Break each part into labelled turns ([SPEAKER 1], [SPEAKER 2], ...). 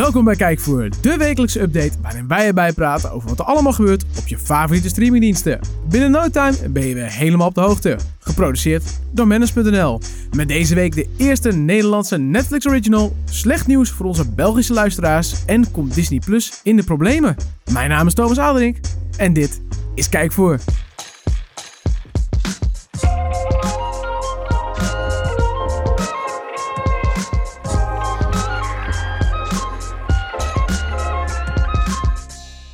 [SPEAKER 1] Welkom bij Kijkvoer, de wekelijkse update waarin wij erbij praten over wat er allemaal gebeurt op je favoriete streamingdiensten. Binnen no time ben je weer helemaal op de hoogte. Geproduceerd door Manus.nl. Met deze week de eerste Nederlandse Netflix original, slecht nieuws voor onze Belgische luisteraars en komt Disney Plus in de problemen. Mijn naam is Thomas Aderink en dit is Kijkvoer.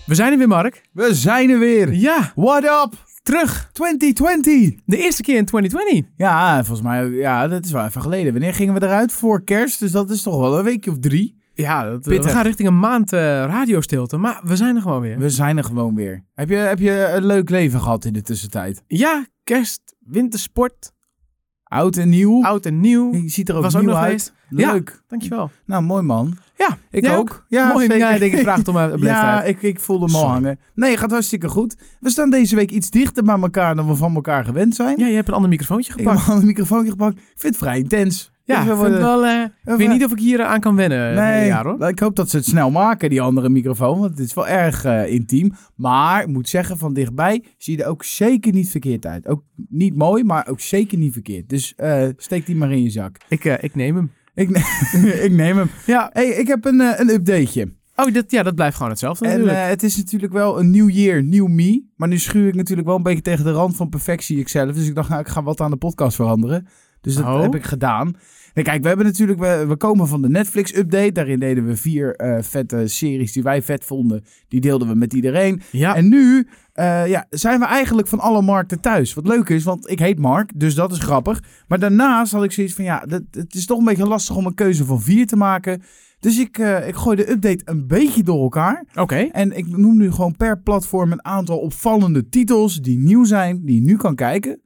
[SPEAKER 1] We zijn er weer, Mark.
[SPEAKER 2] We zijn er weer.
[SPEAKER 1] Ja,
[SPEAKER 2] What up?
[SPEAKER 1] terug.
[SPEAKER 2] 2020.
[SPEAKER 1] De eerste keer in 2020.
[SPEAKER 2] Ja, volgens mij, ja, dat is wel even geleden. Wanneer gingen we eruit? Voor kerst, dus dat is toch wel een weekje of drie.
[SPEAKER 1] Ja, dat, we
[SPEAKER 2] Pittig.
[SPEAKER 1] gaan richting een maand eh, radiostilte, maar we zijn er gewoon weer.
[SPEAKER 2] We zijn er gewoon weer. Heb je, heb je een leuk leven gehad in de tussentijd?
[SPEAKER 1] Ja, kerst, wintersport,
[SPEAKER 2] Oud en nieuw.
[SPEAKER 1] oud en nieuw.
[SPEAKER 2] Je ziet er ook
[SPEAKER 1] Was ook
[SPEAKER 2] nieuw
[SPEAKER 1] nog
[SPEAKER 2] uit.
[SPEAKER 1] geweest.
[SPEAKER 2] Leuk.
[SPEAKER 1] Dankjewel.
[SPEAKER 2] Nou, mooi man.
[SPEAKER 1] Ja,
[SPEAKER 2] Ik
[SPEAKER 1] jij
[SPEAKER 2] ook. Ja,
[SPEAKER 1] Mooi,
[SPEAKER 2] zeker.
[SPEAKER 1] ja, ik denk ik vraag het om eh, uit
[SPEAKER 2] Ja, ik, ik voelde me al
[SPEAKER 1] Sorry.
[SPEAKER 2] hangen. Nee, gaat hartstikke goed. We staan deze week iets dichter bij elkaar dan we van elkaar gewend zijn.
[SPEAKER 1] ja, je hebt een ander microfoontje
[SPEAKER 2] Ik heb
[SPEAKER 1] gepakt.
[SPEAKER 2] een ander microfoontje gepakt. Ik vind het vrij intens.
[SPEAKER 1] ja,
[SPEAKER 2] Dus
[SPEAKER 1] ik
[SPEAKER 2] we
[SPEAKER 1] vind
[SPEAKER 2] worden-
[SPEAKER 1] wel, eh, ik weet niet of ik hier eh, aan kan wennen.
[SPEAKER 2] Nee, nou,
[SPEAKER 1] ja, hoor.
[SPEAKER 2] ik hoop dat ze het snel maken, die andere microfoon. Want het is wel erg eh, intiem. Maar ik moet zeggen, van dichtbij zie je er ook zeker niet verkeerd uit. Ook niet mooi, maar ook zeker niet verkeerd. Dus eh, steek die maar in je zak.
[SPEAKER 1] Ik, eh, ik neem hem.
[SPEAKER 2] Ik, ne- ik neem hem.
[SPEAKER 1] Ja,
[SPEAKER 2] hey, ik heb een, eh, een updateje.
[SPEAKER 1] oh, dat, ja, dat blijft gewoon hetzelfde
[SPEAKER 2] En
[SPEAKER 1] natuurlijk.
[SPEAKER 2] eh, het is natuurlijk wel een nieuw year, nieuw me. Maar nu schuur ik natuurlijk wel een beetje tegen de rand van perfectie ikzelf. Dus ik dacht, nou, ik ga wat aan de podcast veranderen. Dus dat
[SPEAKER 1] Oh.
[SPEAKER 2] heb ik gedaan. En kijk, we hebben natuurlijk, we, we komen van de Netflix-update. Daarin deden we vier eh, vette series die wij vet vonden. Die deelden we met iedereen.
[SPEAKER 1] ja,
[SPEAKER 2] En nu eh, ja, zijn we eigenlijk van alle markten thuis. Wat leuk is, want ik heet Mark, dus dat is grappig. Maar daarnaast had ik zoiets van, ja, dat, het is toch een beetje lastig om een keuze van vier te maken. Dus ik, eh, ik gooi de update een beetje door elkaar.
[SPEAKER 1] oké.
[SPEAKER 2] En ik noem nu gewoon per platform een aantal opvallende titels die nieuw zijn, die je nu kan kijken.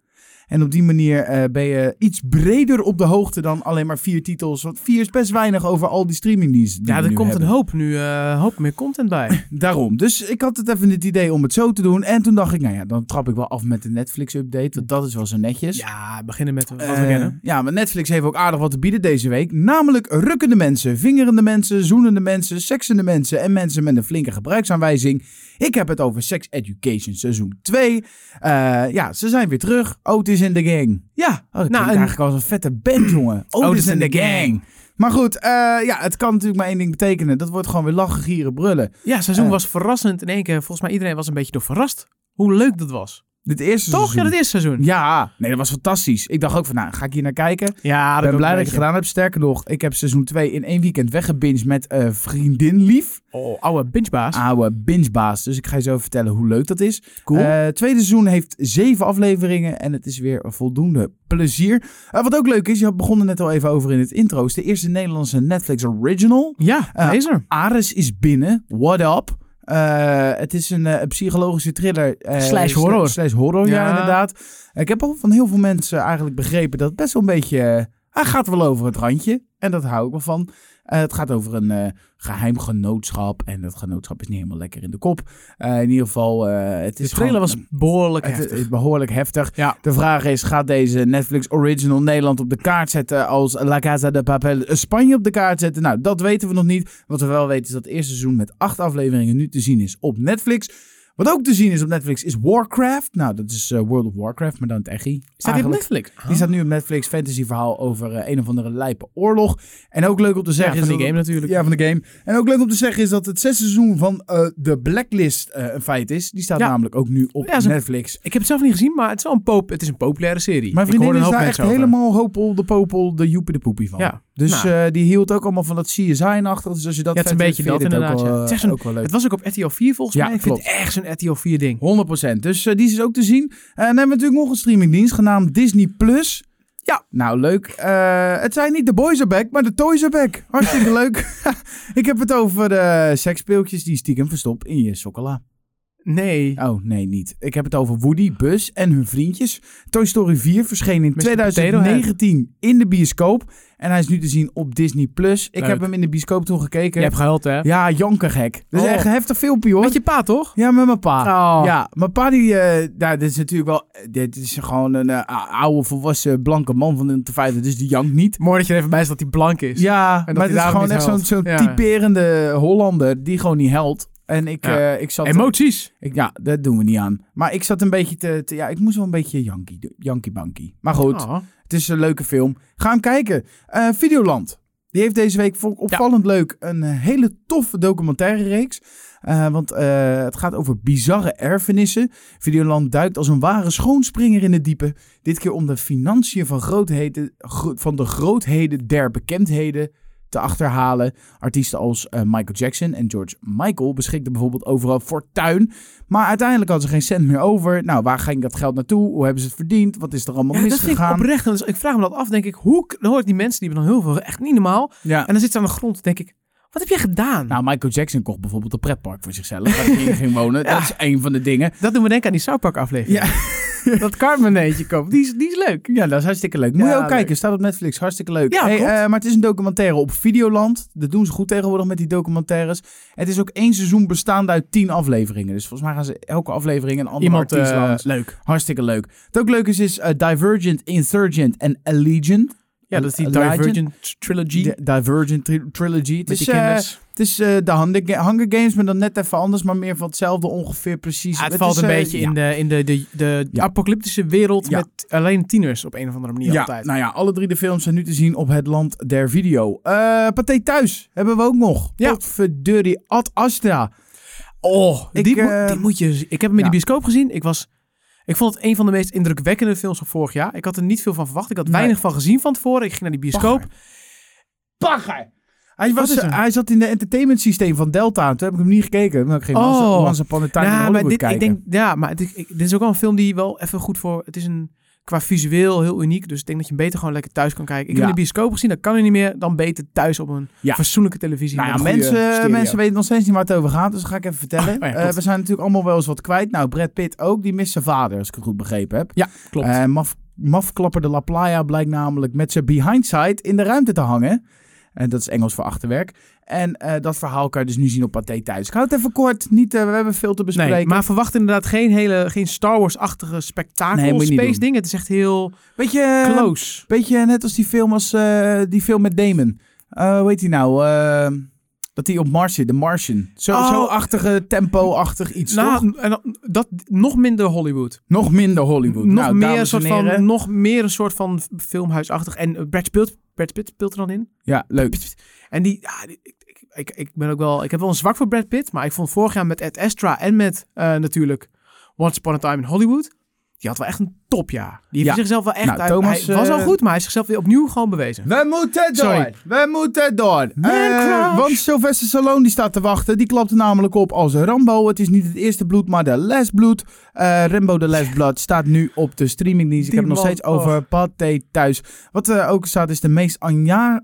[SPEAKER 2] En op die manier eh, ben je iets breder op de hoogte dan alleen maar vier titels. Want vier is best weinig over al die streamingdiensten. die
[SPEAKER 1] Ja,
[SPEAKER 2] we
[SPEAKER 1] er
[SPEAKER 2] nu
[SPEAKER 1] komt een
[SPEAKER 2] hebben.
[SPEAKER 1] hoop nu, eh, een hoop meer content bij.
[SPEAKER 2] Daarom. Dus ik had het even het idee om het zo te doen. En toen dacht ik, nou ja, dan trap ik wel af met de Netflix-update. Want dat is wel zo netjes.
[SPEAKER 1] ja, beginnen met wat we
[SPEAKER 2] Eh,
[SPEAKER 1] kennen.
[SPEAKER 2] ja, maar Netflix heeft ook aardig wat te bieden deze week. Namelijk rukkende mensen, vingerende mensen, zoenende mensen, seksende mensen en mensen met een flinke gebruiksaanwijzing. Ik heb het over Sex Education seizoen 2. Eh, ja, ze zijn weer terug. Otis in the gang.
[SPEAKER 1] Ja,
[SPEAKER 2] Oh,
[SPEAKER 1] nou,
[SPEAKER 2] dat nou,
[SPEAKER 1] en-
[SPEAKER 2] eigenlijk als een vette band, jongen. Otis,
[SPEAKER 1] Otis
[SPEAKER 2] in
[SPEAKER 1] and
[SPEAKER 2] the
[SPEAKER 1] the
[SPEAKER 2] gang.
[SPEAKER 1] Gang.
[SPEAKER 2] Maar goed, eh, ja, het kan natuurlijk maar één ding betekenen. Dat wordt gewoon weer lachen, gieren, brullen.
[SPEAKER 1] ja, seizoen
[SPEAKER 2] eh.
[SPEAKER 1] was verrassend. In één keer, volgens mij iedereen was een beetje door verrast hoe leuk dat was.
[SPEAKER 2] Dit eerste
[SPEAKER 1] Toch? Ja,
[SPEAKER 2] seizoen.
[SPEAKER 1] dat eerste seizoen.
[SPEAKER 2] Ja, nee, dat was fantastisch. Ik dacht ook van, nou, ga ik hier naar kijken?
[SPEAKER 1] Ja,
[SPEAKER 2] Ik ben blij dat ik het gedaan heb. Sterker nog, ik heb seizoen 2 in één weekend weggebinged met eh, vriendin lief.
[SPEAKER 1] Oh, oude bingebaas.
[SPEAKER 2] Oude bingebaas. Dus ik ga je zo vertellen hoe leuk dat is.
[SPEAKER 1] Cool.
[SPEAKER 2] Eh, tweede seizoen heeft zeven afleveringen en het is weer voldoende plezier. Eh, wat ook leuk is, je begon er net al even over in het intro, is de eerste Nederlandse Netflix original.
[SPEAKER 1] ja,
[SPEAKER 2] eh,
[SPEAKER 1] hij is er.
[SPEAKER 2] Ares is binnen. What up? Eh, het is een eh, psychologische thriller. eh,
[SPEAKER 1] Slash horror.
[SPEAKER 2] Slash horror, ja,
[SPEAKER 1] Ja.
[SPEAKER 2] inderdaad. ik heb al van heel veel mensen eigenlijk begrepen dat het best wel een beetje... eh, hij gaat wel over het randje. En dat hou ik wel van. Eh, het gaat over een eh, geheim genootschap. En dat genootschap is niet helemaal lekker in de kop. Eh, in ieder geval, eh, het is
[SPEAKER 1] De trailer
[SPEAKER 2] gewoon-
[SPEAKER 1] was behoorlijk
[SPEAKER 2] het,
[SPEAKER 1] heftig.
[SPEAKER 2] is behoorlijk heftig.
[SPEAKER 1] Ja.
[SPEAKER 2] De vraag is, gaat deze Netflix Original Nederland op de kaart zetten als La Casa de Papel Spanje op de kaart zetten? Nou, dat weten we nog niet. Wat we wel weten is dat het eerste seizoen met acht afleveringen nu te zien is op Netflix. Wat ook te zien is op Netflix is Warcraft. Nou, dat is eh, World of Warcraft, maar dan het echi.
[SPEAKER 1] Staat dit op
[SPEAKER 2] eigenlijk.
[SPEAKER 1] Netflix? Ah.
[SPEAKER 2] Die staat nu op Netflix, fantasy verhaal over eh, een of andere lijpe oorlog. En ook leuk om te
[SPEAKER 1] ja,
[SPEAKER 2] zeggen
[SPEAKER 1] van
[SPEAKER 2] is
[SPEAKER 1] die
[SPEAKER 2] dat
[SPEAKER 1] game natuurlijk.
[SPEAKER 2] ja, van de game. En ook leuk om te zeggen is dat het zesde seizoen van eh The Blacklist eh, een feit is. Die staat
[SPEAKER 1] Ja.
[SPEAKER 2] namelijk ook nu op
[SPEAKER 1] Ja, ze-
[SPEAKER 2] Netflix.
[SPEAKER 1] Ik heb het zelf niet gezien, maar het is wel een, pop, het is een populaire serie.
[SPEAKER 2] Mijn
[SPEAKER 1] Ik
[SPEAKER 2] vriendin
[SPEAKER 1] hoorde
[SPEAKER 2] is
[SPEAKER 1] een hoop
[SPEAKER 2] daar echt
[SPEAKER 1] mensen over.
[SPEAKER 2] helemaal hopel de popel de joepie de poepie van.
[SPEAKER 1] Ja.
[SPEAKER 2] Dus
[SPEAKER 1] Nou.
[SPEAKER 2] eh, die hield ook allemaal van dat CSI-achtig. Dus als je dat
[SPEAKER 1] Ja, het is een
[SPEAKER 2] vet
[SPEAKER 1] beetje
[SPEAKER 2] vindt,
[SPEAKER 1] dat
[SPEAKER 2] vind je dit
[SPEAKER 1] inderdaad,
[SPEAKER 2] Ook
[SPEAKER 1] ja.
[SPEAKER 2] wel,
[SPEAKER 1] Het is
[SPEAKER 2] eh,
[SPEAKER 1] echt een-
[SPEAKER 2] ook wel leuk.
[SPEAKER 1] Het was ook op RTL 4 volgens
[SPEAKER 2] Ja,
[SPEAKER 1] mij. Ik vind het echt zo'n RTL 4 ding.
[SPEAKER 2] 100%. Dus eh, die is ook te zien. Eh, dan hebben we natuurlijk nog een streamingdienst genaamd Disney+. Plus.
[SPEAKER 1] Ja.
[SPEAKER 2] Nou, leuk. Eh, het zijn niet de boys are back, maar de toys are back. Hartstikke eh, leuk. Ik heb het over de seksspeeltjes die je stiekem verstopt in je chocola.
[SPEAKER 1] Nee.
[SPEAKER 2] Oh, nee, niet. Ik heb het over Woody, Buzz en hun vriendjes. Toy Story 4 verscheen in
[SPEAKER 1] Mr.
[SPEAKER 2] 2019 in de bioscoop. En hij is nu te zien op Disney+. Plus. Ik
[SPEAKER 1] Leuk.
[SPEAKER 2] heb hem in de bioscoop toen
[SPEAKER 1] Je
[SPEAKER 2] gekeken.
[SPEAKER 1] hebt gehuild, hè?
[SPEAKER 2] Ja, jankergek. Dat is
[SPEAKER 1] Oh.
[SPEAKER 2] echt een heftig filmpje, hoor.
[SPEAKER 1] Met je pa, toch?
[SPEAKER 2] Ja, met mijn pa.
[SPEAKER 1] Oh.
[SPEAKER 2] Ja, mijn pa die... eh, nou, dit is natuurlijk wel... Dit is gewoon een eh, oude, volwassen, blanke man van de vijfde. Dus die jankt niet.
[SPEAKER 1] Mooi dat je er even bij is dat hij blank is.
[SPEAKER 2] Ja,
[SPEAKER 1] dat
[SPEAKER 2] maar
[SPEAKER 1] hij
[SPEAKER 2] het is
[SPEAKER 1] daarom
[SPEAKER 2] gewoon
[SPEAKER 1] niet
[SPEAKER 2] echt zo'n
[SPEAKER 1] helpt.
[SPEAKER 2] zo'n
[SPEAKER 1] Ja.
[SPEAKER 2] typerende Hollander die gewoon niet helpt. En ik,
[SPEAKER 1] Ja.
[SPEAKER 2] eh, ik zat...
[SPEAKER 1] Emoties.
[SPEAKER 2] Ik, ja, dat doen we niet aan. Maar ik zat een beetje te... te- ja, ik moest wel een beetje Yankee, do- Yankee Bankie. Maar goed,
[SPEAKER 1] Oh.
[SPEAKER 2] het is een leuke film. Ga hem kijken. Eh, Videoland. Die heeft deze week vond ik opvallend leuk een eh, hele toffe documentaire reeks. Eh, want eh, het gaat over bizarre erfenissen. Videoland duikt als een ware schoonspringer in het diepe. Dit keer om de financiën van, grootheden, gro- van de grootheden der bekendheden te achterhalen. Artiesten als eh, Michael Jackson en George Michael beschikten bijvoorbeeld overal fortuin. Maar uiteindelijk hadden ze geen cent meer over. Nou, waar ging dat geld naartoe? Hoe hebben ze het verdiend? Wat is er allemaal
[SPEAKER 1] Ja, dat vind ik
[SPEAKER 2] misgegaan?
[SPEAKER 1] oprecht. Dus ik vraag me dat af, denk ik. Hoe k- dan hoor ik die mensen die hebben dan heel veel, echt niet normaal.
[SPEAKER 2] Ja.
[SPEAKER 1] En dan zitten ze aan de grond, denk ik. Wat heb jij gedaan?
[SPEAKER 2] Nou, Michael Jackson kocht bijvoorbeeld een pretpark voor zichzelf. Waar hij in ging wonen. Dat is één van de dingen.
[SPEAKER 1] dat doen we denken aan die South aflevering. dat Carmenetje kopen, die is, die is leuk.
[SPEAKER 2] Ja, dat is hartstikke leuk. Moet
[SPEAKER 1] Ja,
[SPEAKER 2] je ook
[SPEAKER 1] leuk.
[SPEAKER 2] kijken. Staat op Netflix. Hartstikke leuk.
[SPEAKER 1] Ja,
[SPEAKER 2] hey,
[SPEAKER 1] klopt.
[SPEAKER 2] eh, maar het is een documentaire op Videoland. Dat doen ze goed tegenwoordig met die documentaires. Het is ook één seizoen bestaande uit tien afleveringen. Dus volgens mij gaan ze elke aflevering een ander
[SPEAKER 1] Iemand
[SPEAKER 2] artiest
[SPEAKER 1] eh,
[SPEAKER 2] langs.
[SPEAKER 1] leuk.
[SPEAKER 2] Hartstikke leuk. Wat ook leuk is, is eh, Divergent, Insurgent en Allegiant.
[SPEAKER 1] Ja, dat is die
[SPEAKER 2] Legend.
[SPEAKER 1] Divergent Trilogy.
[SPEAKER 2] De Divergent tri- Trilogy. Het
[SPEAKER 1] met
[SPEAKER 2] is,
[SPEAKER 1] die
[SPEAKER 2] eh,
[SPEAKER 1] kinders.
[SPEAKER 2] het is eh, de Hunger Ga- Hunger Games, maar dan net even anders. Maar meer van hetzelfde ongeveer precies.
[SPEAKER 1] Ja, het,
[SPEAKER 2] Het
[SPEAKER 1] valt
[SPEAKER 2] is,
[SPEAKER 1] een
[SPEAKER 2] eh,
[SPEAKER 1] beetje
[SPEAKER 2] ja.
[SPEAKER 1] in de, in de, de, de
[SPEAKER 2] Ja.
[SPEAKER 1] apocalyptische wereld
[SPEAKER 2] Ja.
[SPEAKER 1] met alleen tieners op een of andere manier
[SPEAKER 2] ja,
[SPEAKER 1] altijd.
[SPEAKER 2] Nou ja, alle drie de films zijn nu te zien op het land der video. Eh Pathé Thuis hebben we ook nog.
[SPEAKER 1] Ja.
[SPEAKER 2] Potverdurrie Ad Astra.
[SPEAKER 1] oh,
[SPEAKER 2] ik,
[SPEAKER 1] die, moet-
[SPEAKER 2] eh,
[SPEAKER 1] die moet je zien. Ik heb hem in
[SPEAKER 2] ja.
[SPEAKER 1] de bioscoop gezien. Ik, was, ik vond het een van de meest indrukwekkende films van vorig jaar. Ik had er niet veel van verwacht. Ik had
[SPEAKER 2] Nee.
[SPEAKER 1] weinig van gezien van tevoren. Ik ging naar die bioscoop.
[SPEAKER 2] Bagger. Hij,
[SPEAKER 1] Wat
[SPEAKER 2] was, eh,
[SPEAKER 1] is er?
[SPEAKER 2] hij zat in de entertainment systeem van Delta. Toen heb ik hem niet gekeken. Omdat ik geen
[SPEAKER 1] Oh.
[SPEAKER 2] oh. Once Upon a Time in
[SPEAKER 1] Nou,
[SPEAKER 2] Hollywood
[SPEAKER 1] maar dit,
[SPEAKER 2] kijken.
[SPEAKER 1] ik denk, ja, maar het, is- ik- dit is ook wel een film die wel even goed voor. Het is een qua visueel heel uniek, dus ik denk dat je hem beter gewoon lekker thuis kan kijken. Ik heb
[SPEAKER 2] Ja.
[SPEAKER 1] hem in de bioscoop gezien, dat kan nu niet meer. Dan beter thuis op een
[SPEAKER 2] Ja.
[SPEAKER 1] fatsoenlijke televisie.
[SPEAKER 2] nou ja,
[SPEAKER 1] met eh, een goede
[SPEAKER 2] mensen,
[SPEAKER 1] stereo.
[SPEAKER 2] mensen weten nog steeds niet waar het over gaat, dus dat ga ik even vertellen.
[SPEAKER 1] Oh, ja,
[SPEAKER 2] Eh,
[SPEAKER 1] klopt.
[SPEAKER 2] we zijn natuurlijk allemaal wel eens wat kwijt. Nou, Brad Pitt ook, die mist zijn vader, als ik het goed begrepen heb.
[SPEAKER 1] Ja, klopt.
[SPEAKER 2] Eh, maf, mafklapper de La Playa blijkt namelijk met zijn behindsight in de ruimte te hangen. En dat is Engels voor achterwerk. En eh, dat verhaal kan je dus nu zien op Pathé Thuis. Ik hou het even kort. Niet, eh, we hebben veel te bespreken.
[SPEAKER 1] nee, maar verwacht inderdaad geen hele, geen Star Wars-achtige spektakel
[SPEAKER 2] Nee, moet je niet
[SPEAKER 1] space
[SPEAKER 2] doen.
[SPEAKER 1] ding. Het is echt heel
[SPEAKER 2] beetje, eh,
[SPEAKER 1] close.
[SPEAKER 2] beetje net als die film, als, eh, die film met Damon. Eh hoe heet die nou? Eh, dat hij op Mars zit, de Martian. Zo,
[SPEAKER 1] Oh.
[SPEAKER 2] zo achtige, tempo-achtig iets, toch?
[SPEAKER 1] nou, en dan- dat nog minder Hollywood.
[SPEAKER 2] Nog minder Hollywood.
[SPEAKER 1] Nog
[SPEAKER 2] Nou,
[SPEAKER 1] meer
[SPEAKER 2] dames
[SPEAKER 1] een
[SPEAKER 2] en
[SPEAKER 1] soort van,
[SPEAKER 2] heren.
[SPEAKER 1] nog meer een soort van filmhuisachtig. En eh, Brad Pitt, Brad Pitt speelt er dan in.
[SPEAKER 2] Ja, leuk.
[SPEAKER 1] En die, ja, die- ik, ik- ik, ik ben ook wel, ik heb wel een zwak voor Brad Pitt, maar ik vond vorig jaar met Ed Astra en met eh, natuurlijk Once Upon a Time in Hollywood, die had wel echt een topjaar. Die heeft
[SPEAKER 2] Ja.
[SPEAKER 1] zichzelf wel echt
[SPEAKER 2] Nou,
[SPEAKER 1] uit.
[SPEAKER 2] Thomas,
[SPEAKER 1] hij was al
[SPEAKER 2] eh,
[SPEAKER 1] goed, maar hij is zichzelf weer opnieuw gewoon bewezen.
[SPEAKER 2] We moeten door.
[SPEAKER 1] Sorry.
[SPEAKER 2] We moeten door.
[SPEAKER 1] Man
[SPEAKER 2] Eh,
[SPEAKER 1] crush.
[SPEAKER 2] want Sylvester Stallone die staat te wachten. Die klapte namelijk op als Rambo. Het is niet het eerste bloed, maar de last bloed. Eh, Rambo de Last Blood staat nu op de streamingdienst. Ik
[SPEAKER 1] Die
[SPEAKER 2] heb het nog
[SPEAKER 1] man, oh.
[SPEAKER 2] steeds over Pathé Thuis. Wat er ook staat is de meest anja-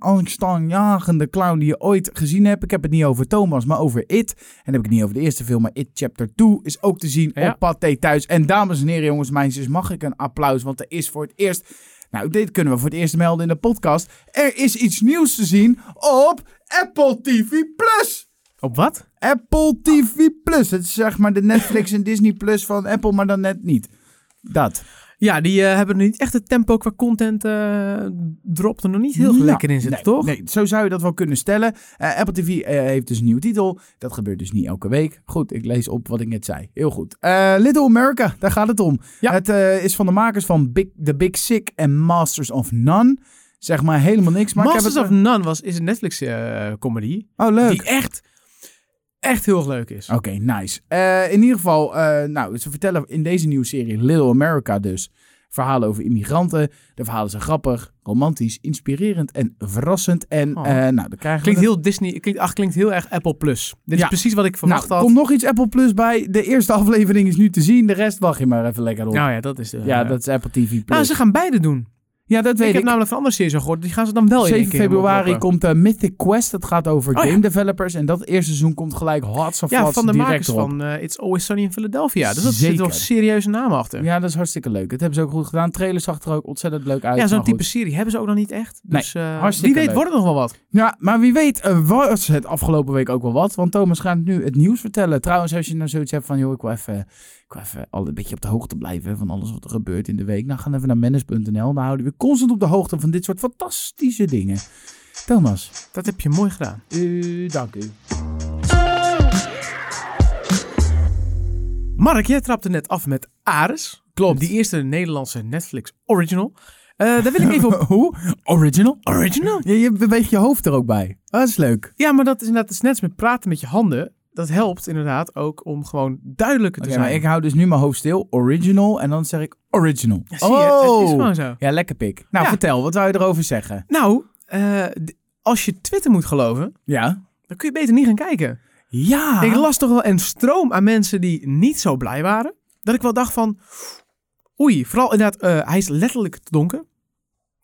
[SPEAKER 2] angstaanjagende clown die je ooit gezien hebt. Ik heb het niet over Thomas, maar over It. En dan heb ik het niet over de eerste film, maar It Chapter 2 is ook te zien
[SPEAKER 1] Ja.
[SPEAKER 2] op Pathé Thuis. En dames en heren, jongens, meisjes, mag ik een applaus? Want er is voor het eerst... Nou, dit kunnen we voor het eerst melden in de podcast. Er is iets nieuws te zien op Apple TV+. Plus.
[SPEAKER 1] Op wat?
[SPEAKER 2] Apple TV Plus. Het is zeg maar de Netflix en Disney Plus van Apple, maar dan net niet. Dat.
[SPEAKER 1] Ja, die eh, hebben er niet echt het tempo qua content eh drop er nog niet heel
[SPEAKER 2] Nou,
[SPEAKER 1] lekker in zitten,
[SPEAKER 2] nee,
[SPEAKER 1] toch?
[SPEAKER 2] Nee, zo zou je dat wel kunnen stellen. Eh, Apple TV eh, heeft dus een nieuwe titel. Dat gebeurt dus niet elke week. Goed, ik lees op wat ik net zei. Heel goed. Eh, Little America, daar gaat het om.
[SPEAKER 1] Ja.
[SPEAKER 2] Het eh, is van de makers van Big, The Big Sick en Masters of None. Zeg maar helemaal niks. Maar
[SPEAKER 1] Masters
[SPEAKER 2] ik heb
[SPEAKER 1] of
[SPEAKER 2] het,
[SPEAKER 1] None was, is een Netflix eh, comedy
[SPEAKER 2] Oh, leuk. Oh,
[SPEAKER 1] die echt, echt heel erg leuk is.
[SPEAKER 2] Oké, nice. Eh, in ieder geval, eh, nou, ze vertellen in deze nieuwe serie Little America dus verhalen over immigranten. De verhalen zijn grappig, romantisch, inspirerend en verrassend. En
[SPEAKER 1] Oh.
[SPEAKER 2] eh, nou, dan krijgen
[SPEAKER 1] Klinkt
[SPEAKER 2] we...
[SPEAKER 1] heel Disney, klinkt, ach, klinkt heel erg Apple Plus. Dit
[SPEAKER 2] Ja.
[SPEAKER 1] is precies wat ik
[SPEAKER 2] nou,
[SPEAKER 1] verwacht had.
[SPEAKER 2] komt nog iets Apple Plus bij. De eerste aflevering is nu te zien. De rest wacht je maar even lekker op. Ja,
[SPEAKER 1] Nou ja, dat is de...
[SPEAKER 2] dat is Apple TV Plus.
[SPEAKER 1] Nou, ze gaan beide doen.
[SPEAKER 2] Ja, dat weet
[SPEAKER 1] ik
[SPEAKER 2] ik.
[SPEAKER 1] heb namelijk van andere series al gehoord. Die gaan ze dan wel in één
[SPEAKER 2] 7
[SPEAKER 1] keer
[SPEAKER 2] februari
[SPEAKER 1] oploppen.
[SPEAKER 2] komt eh, Mythic Quest. Dat gaat over
[SPEAKER 1] Oh, ja.
[SPEAKER 2] game developers. En dat eerste seizoen komt gelijk hot of
[SPEAKER 1] Ja,
[SPEAKER 2] Flats
[SPEAKER 1] van de
[SPEAKER 2] direct
[SPEAKER 1] makers
[SPEAKER 2] erop.
[SPEAKER 1] van eh, It's Always Sunny in Philadelphia. Dus dat zit wel
[SPEAKER 2] Zeker.
[SPEAKER 1] serieuze namen achter. Ja,
[SPEAKER 2] Ja, dat is hartstikke leuk. Dat hebben ze ook goed gedaan. Trailer zag er ook ontzettend leuk uit.
[SPEAKER 1] zo'n
[SPEAKER 2] maar goed.
[SPEAKER 1] type serie hebben ze ook nog niet echt.
[SPEAKER 2] Nee,
[SPEAKER 1] Dus eh,
[SPEAKER 2] hartstikke
[SPEAKER 1] wie weet
[SPEAKER 2] leuk.
[SPEAKER 1] wordt het nog wel wat.
[SPEAKER 2] Ja, maar wie weet eh, was het afgelopen week ook wel wat. Want Thomas gaat nu het nieuws vertellen. Trouwens, als je nou zoiets hebt van... joh, ik wil even, ik wil even al een beetje op de hoogte blijven... van alles wat er gebeurt in de week. Nou, ga even naar manage.nl. Dan houden we je constant op de hoogte van dit soort fantastische dingen. Thomas.
[SPEAKER 1] Dat heb je mooi gedaan.
[SPEAKER 2] dank u.
[SPEAKER 1] Mark, jij trapte net af met Ares.
[SPEAKER 2] Klopt.
[SPEAKER 1] Die eerste Nederlandse Netflix original. Eh, daar wil ik even op...
[SPEAKER 2] Hoe? Original?
[SPEAKER 1] Original?
[SPEAKER 2] Je, je beweegt je hoofd er ook bij. Dat is leuk.
[SPEAKER 1] Ja, maar dat is inderdaad het is net als met praten met je handen. Dat helpt inderdaad ook om gewoon duidelijker te
[SPEAKER 2] Oké, maar
[SPEAKER 1] zijn.
[SPEAKER 2] ik hou dus nu mijn hoofd stil. Original. En dan zeg ik original. Oh!
[SPEAKER 1] Ja, zie je, het- het is gewoon zo.
[SPEAKER 2] Ja, lekker pik. Nou,
[SPEAKER 1] Ja.
[SPEAKER 2] vertel. Wat zou je erover zeggen?
[SPEAKER 1] Nou, eh, d- als je Twitter moet geloven,
[SPEAKER 2] Ja.
[SPEAKER 1] dan kun je beter niet gaan kijken.
[SPEAKER 2] Ja.
[SPEAKER 1] Ik las toch wel een stroom aan mensen die niet zo blij waren. Dat ik wel dacht van, oei, vooral inderdaad, eh, hij is letterlijk te donker.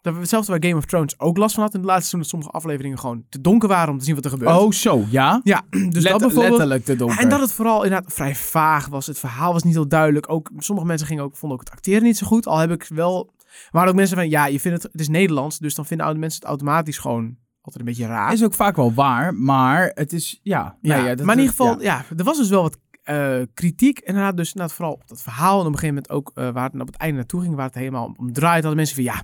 [SPEAKER 1] Dat we hetzelfde waar Game of Thrones ook last van had in het laatste seizoen. Dat sommige afleveringen gewoon te donker waren om te zien wat er gebeurt.
[SPEAKER 2] Oh, zo, ja.
[SPEAKER 1] Ja, dus
[SPEAKER 2] Let-
[SPEAKER 1] dat bijvoorbeeld.
[SPEAKER 2] Letterlijk te donker.
[SPEAKER 1] En dat het vooral inderdaad vrij vaag was. Het verhaal was niet heel duidelijk. Ook, sommige mensen gingen ook, vonden ook het acteren niet zo goed. Al heb ik wel... Er waren ook mensen van, ja, je vindt het, het is Nederlands. Dus dan vinden oude mensen het automatisch gewoon altijd een beetje raar.
[SPEAKER 2] is ook vaak wel waar, maar het is, ja.
[SPEAKER 1] ja,
[SPEAKER 2] nou ja, dat-
[SPEAKER 1] maar in ieder
[SPEAKER 2] dat-
[SPEAKER 1] geval, ja. er was dus wel wat eh, kritiek. Inderdaad, dus inderdaad, vooral op dat verhaal. En op een gegeven moment ook eh, waar het op het einde naartoe ging. Waar het helemaal om- om draait. Hadden mensen van, ja,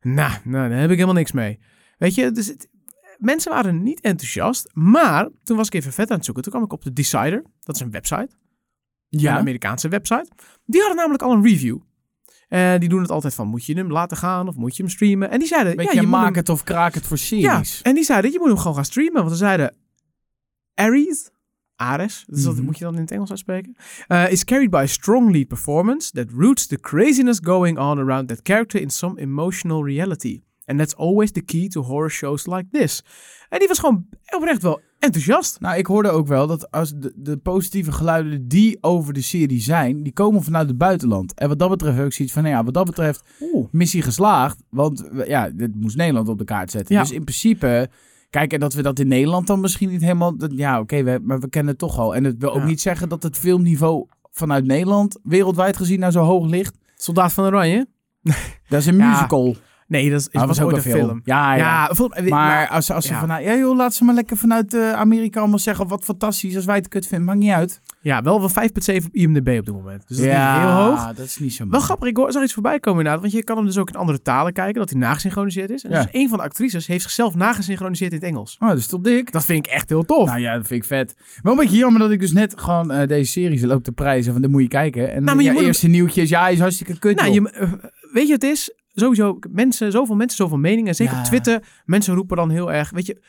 [SPEAKER 1] nou, nou, daar heb ik helemaal niks mee. Weet je, dus het, mensen waren niet enthousiast. Maar toen was ik even vet aan het zoeken. Toen kwam ik op de Decider. Dat is een website. ja. een
[SPEAKER 2] Ja,
[SPEAKER 1] Amerikaanse website. Die hadden namelijk al een review. Eh, die doen het altijd van, moet je hem laten gaan of moet je hem streamen? En die zeiden,
[SPEAKER 2] een beetje
[SPEAKER 1] ja, je
[SPEAKER 2] maak
[SPEAKER 1] moet hem,
[SPEAKER 2] het of kraak het voor
[SPEAKER 1] ja,
[SPEAKER 2] series.
[SPEAKER 1] en die zeiden, je moet hem gewoon gaan streamen. Want ze zeiden, Ares, Ares, dus dat
[SPEAKER 2] Mhm.
[SPEAKER 1] moet je dan in het Engels uitspreken, eh, is carried by a strong lead performance that roots the craziness going on around that character in some emotional reality. And that's always the key to horror shows like this. En die was gewoon oprecht wel enthousiast.
[SPEAKER 2] Nou, ik hoorde ook wel dat als de, de positieve geluiden die over de serie zijn, die komen vanuit het buitenland. En wat dat betreft heb ik zoiets van, nou ja, wat dat betreft, missie geslaagd. Want we- ja, dit moest Nederland op de kaart zetten.
[SPEAKER 1] Ja.
[SPEAKER 2] Dus in principe, kijk, en dat we dat in Nederland dan misschien niet helemaal, dat, ja oké, we- maar we kennen het toch al. En het wil ook
[SPEAKER 1] Ja.
[SPEAKER 2] niet zeggen dat het filmniveau vanuit Nederland wereldwijd gezien nou zo hoog ligt.
[SPEAKER 1] Soldaat van Oranje?
[SPEAKER 2] Dat is een
[SPEAKER 1] Ja.
[SPEAKER 2] musical.
[SPEAKER 1] Nee, dat is,
[SPEAKER 2] Ah,
[SPEAKER 1] was, ooit een film.
[SPEAKER 2] Ja, ja.
[SPEAKER 1] Ja, vol- eh,
[SPEAKER 2] Maar als, als ze
[SPEAKER 1] ja.
[SPEAKER 2] van, nou, ja joh, laat ze maar lekker vanuit eh, Amerika allemaal zeggen wat fantastisch. Als wij het kut vinden, maakt niet uit.
[SPEAKER 1] Ja, wel van 5,7 op IMDb op dit moment. Dus dat
[SPEAKER 2] ja,
[SPEAKER 1] is niet heel hoog.
[SPEAKER 2] dat is niet zo
[SPEAKER 1] Wel
[SPEAKER 2] mooi.
[SPEAKER 1] grappig, ik hoor- zag iets voorbij komen inderdaad. Want je kan hem dus ook in andere talen kijken, dat hij nagesynchroniseerd is. En
[SPEAKER 2] Ja.
[SPEAKER 1] dus een van de actrices heeft zichzelf nagesynchroniseerd in het Engels.
[SPEAKER 2] Oh, dat is toch dik?
[SPEAKER 1] Dat vind ik echt heel tof. Nou,
[SPEAKER 2] Nou ja, dat vind ik vet. Wel een beetje jammer dat ik dus net gewoon eh, deze serie loop te prijzen. Van, dan moet Nou, je kijken. En
[SPEAKER 1] Nou, maar je
[SPEAKER 2] ja,
[SPEAKER 1] moet-
[SPEAKER 2] eerste nieuwtjes, ja, hij is hartstikke kut. joh.
[SPEAKER 1] je, eh, weet je wat het is? Sowieso, mensen, zoveel mensen, zoveel meningen. Zeker
[SPEAKER 2] Ja.
[SPEAKER 1] op Twitter, mensen roepen dan heel erg, weet je...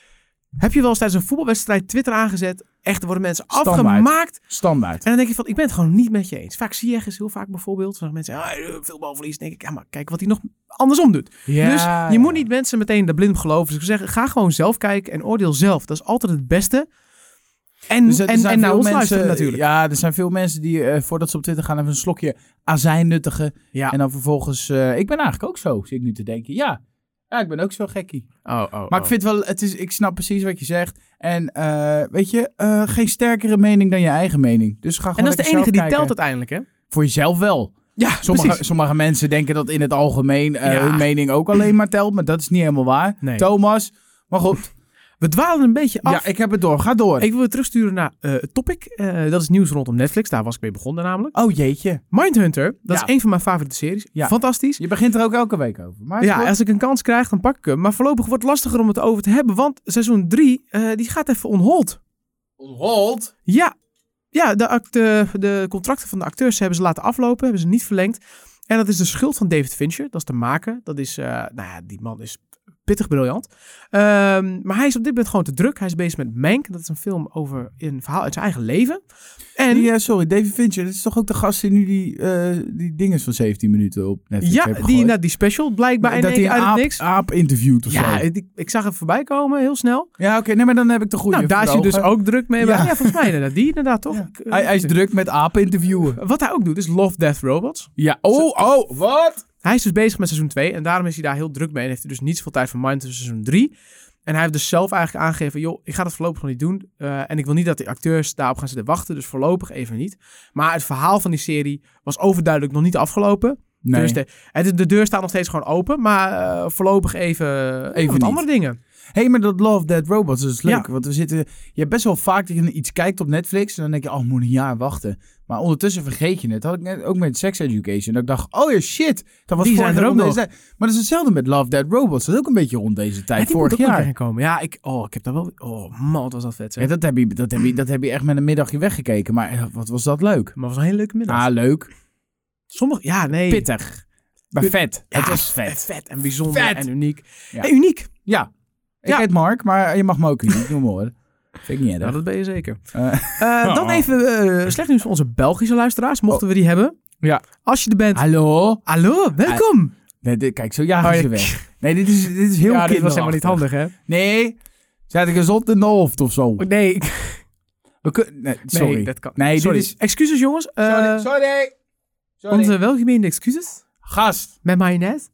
[SPEAKER 1] Heb je wel eens tijdens een voetbalwedstrijd Twitter aangezet? Echt, er worden mensen
[SPEAKER 2] Standaard.
[SPEAKER 1] afgemaakt.
[SPEAKER 2] Standaard.
[SPEAKER 1] En dan denk je van, ik ben het gewoon niet met je eens. Vaak zie je ergens heel vaak bijvoorbeeld, van mensen, ah, eh, veel balverlies. Dan denk ik, ja, maar kijk wat hij nog andersom doet. dus je moet niet mensen meteen de blind geloven. Dus ik zeg, ga gewoon zelf kijken en oordeel zelf. Dat is altijd het beste. En,
[SPEAKER 2] Dus er- er
[SPEAKER 1] en,
[SPEAKER 2] zijn
[SPEAKER 1] en naar
[SPEAKER 2] veel
[SPEAKER 1] ons
[SPEAKER 2] mensen-
[SPEAKER 1] luisteren natuurlijk.
[SPEAKER 2] Ja, er zijn veel mensen die eh, voordat ze op Twitter gaan even een slokje azijn nuttigen.
[SPEAKER 1] Ja.
[SPEAKER 2] En dan vervolgens... eh, ik ben eigenlijk ook zo, zit ik nu te denken. Ja, ja ik ben ook zo gekkie.
[SPEAKER 1] Oh, oh,
[SPEAKER 2] Maar
[SPEAKER 1] oh.
[SPEAKER 2] ik vind wel, het is, ik snap precies wat je zegt. En eh, weet je, eh, geen sterkere mening dan je eigen mening. Dus ga
[SPEAKER 1] en
[SPEAKER 2] gewoon
[SPEAKER 1] dat is de
[SPEAKER 2] lekker
[SPEAKER 1] enige die
[SPEAKER 2] zelf
[SPEAKER 1] telt
[SPEAKER 2] kijken.
[SPEAKER 1] uiteindelijk, hè?
[SPEAKER 2] Voor jezelf wel.
[SPEAKER 1] Ja,
[SPEAKER 2] Sommige, sommige mensen denken dat in het algemeen eh,
[SPEAKER 1] Ja.
[SPEAKER 2] hun mening ook alleen maar telt. Maar dat is niet helemaal waar.
[SPEAKER 1] Nee.
[SPEAKER 2] Thomas, maar goed.
[SPEAKER 1] We dwalen een beetje af.
[SPEAKER 2] ja, ik heb het door. Ga door.
[SPEAKER 1] ik... wil het terugsturen naar eh, het topic. Eh, dat is nieuws rondom Netflix. Daar was ik mee begonnen namelijk.
[SPEAKER 2] Oh jeetje.
[SPEAKER 1] Mindhunter, dat
[SPEAKER 2] Ja.
[SPEAKER 1] is een van mijn favoriete series.
[SPEAKER 2] Ja.
[SPEAKER 1] Fantastisch.
[SPEAKER 2] Je begint er ook elke week over. Maar
[SPEAKER 1] Ja,
[SPEAKER 2] goed.
[SPEAKER 1] als ik een kans krijg, dan pak ik hem. Maar voorlopig wordt het lastiger om het over te hebben. Want seizoen 3, die gaat even on hold.
[SPEAKER 2] On hold.
[SPEAKER 1] Ja, ja de, act- de, de contracten van de acteurs hebben ze laten aflopen, hebben ze niet verlengd. En dat is de schuld van David Fincher, dat is de maker. Dat is, eh, nou ja, die man is pittig briljant. Ehm, maar hij is op dit moment gewoon te druk. Hij is bezig met Mank, dat is een film over een verhaal uit zijn eigen leven. En
[SPEAKER 2] Die, eh, sorry, David Fincher. Dat is toch ook de gast die nu die, eh die dinges van 17 minuten op Netflix
[SPEAKER 1] ja,
[SPEAKER 2] heeft
[SPEAKER 1] die,
[SPEAKER 2] gegooid?
[SPEAKER 1] nou, die special blijkbaar in
[SPEAKER 2] dat
[SPEAKER 1] één
[SPEAKER 2] hij
[SPEAKER 1] keer
[SPEAKER 2] een
[SPEAKER 1] uit het
[SPEAKER 2] aap,
[SPEAKER 1] niks.
[SPEAKER 2] aap interviewt of
[SPEAKER 1] Ja,
[SPEAKER 2] zo.
[SPEAKER 1] ik, ik zag hem voorbij komen, heel snel.
[SPEAKER 2] Ja, oké, nee, maar dan heb ik de goede.
[SPEAKER 1] nou, daar is hij dus
[SPEAKER 2] vragen.
[SPEAKER 1] ook druk mee.
[SPEAKER 2] Ja.
[SPEAKER 1] Ja, ja volgens mij inderdaad. Die inderdaad, toch?
[SPEAKER 2] Ja.
[SPEAKER 1] Ik, eh,
[SPEAKER 2] Hij, hij is druk met apen interviewen.
[SPEAKER 1] Wat hij ook doet, is Love, Death, Robots.
[SPEAKER 2] Ja, oh, oh, wat?
[SPEAKER 1] Hij is dus bezig met seizoen 2 en daarom is hij daar heel druk mee en heeft hij dus niet zoveel tijd voor Mind tussen seizoen 3. En hij heeft dus zelf eigenlijk aangegeven, joh, ik ga dat voorlopig nog niet doen. eh, en ik wil niet dat die acteurs daarop gaan zitten wachten, dus voorlopig even niet. Maar het verhaal van die serie was overduidelijk nog niet afgelopen.
[SPEAKER 2] Nee.
[SPEAKER 1] Dus de, het- de deur staat nog steeds gewoon open, maar eh, voorlopig even, even wat
[SPEAKER 2] niet.
[SPEAKER 1] andere dingen.
[SPEAKER 2] hey, maar dat Love Dead Robots dat is leuk.
[SPEAKER 1] Ja.
[SPEAKER 2] Want we zitten. Je hebt best wel vaak dat je iets kijkt op Netflix. En dan denk je, oh, ik moet een jaar wachten. Maar ondertussen vergeet je het. Had ik net ook met Sex Education. Dat ik dacht, oh ja, shit. Dat was
[SPEAKER 1] Die
[SPEAKER 2] vorig
[SPEAKER 1] zijn er
[SPEAKER 2] jaar
[SPEAKER 1] ook
[SPEAKER 2] rond
[SPEAKER 1] nog.
[SPEAKER 2] deze tijd. Maar dat is hetzelfde met Love Dead Robots. Dat is ook een beetje rond deze tijd.
[SPEAKER 1] Ja, die moet
[SPEAKER 2] vorig
[SPEAKER 1] ook nog
[SPEAKER 2] jaar.
[SPEAKER 1] weer gaan komen. Ja, ik, oh, ik heb daar wel... Oh man, wat was dat vet zeg.
[SPEAKER 2] Ja, dat, heb je, dat, heb je, dat heb je echt met een middagje weggekeken. Maar eh, wat was dat leuk?
[SPEAKER 1] Maar het was een hele leuke middag.
[SPEAKER 2] Ah, leuk.
[SPEAKER 1] Sommige, ja, nee.
[SPEAKER 2] Pittig. Maar
[SPEAKER 1] Pit-
[SPEAKER 2] vet.
[SPEAKER 1] Ja,
[SPEAKER 2] het was vet.
[SPEAKER 1] Vet en bijzonder
[SPEAKER 2] Vet.
[SPEAKER 1] en uniek.
[SPEAKER 2] Ja.
[SPEAKER 1] En uniek.
[SPEAKER 2] Ja. Ik
[SPEAKER 1] Ja.
[SPEAKER 2] heet Mark, maar je mag me ook niet noemen hoor. Vind ik niet
[SPEAKER 1] Ja,
[SPEAKER 2] erg.
[SPEAKER 1] Nou, dat ben je zeker.
[SPEAKER 2] Eh.
[SPEAKER 1] Eh, dan even eh, slecht nieuws voor onze Belgische luisteraars, mochten we die hebben.
[SPEAKER 2] Ja.
[SPEAKER 1] Als je er bent.
[SPEAKER 2] Oh. Hallo? Ah,
[SPEAKER 1] Hallo, welkom.
[SPEAKER 2] Nee, dit- kijk, zo jagen
[SPEAKER 1] Oh,
[SPEAKER 2] ze
[SPEAKER 1] ja.
[SPEAKER 2] weg. Nee, dit is, dit is heel
[SPEAKER 1] ja, dit was helemaal niet
[SPEAKER 2] kinderachtig.
[SPEAKER 1] handig, hè?
[SPEAKER 2] Nee, zet ik eens op de hoofd of zo.
[SPEAKER 1] Nee, ik-
[SPEAKER 2] We kun- nee, sorry.
[SPEAKER 1] nee dat kan.
[SPEAKER 2] Nee, dit
[SPEAKER 1] sorry.
[SPEAKER 2] is-
[SPEAKER 1] Excuses, jongens. Eh,
[SPEAKER 2] sorry, sorry. Sorry.
[SPEAKER 1] Onze welgemeende excuses.
[SPEAKER 2] Gast.
[SPEAKER 1] Met mayonaise.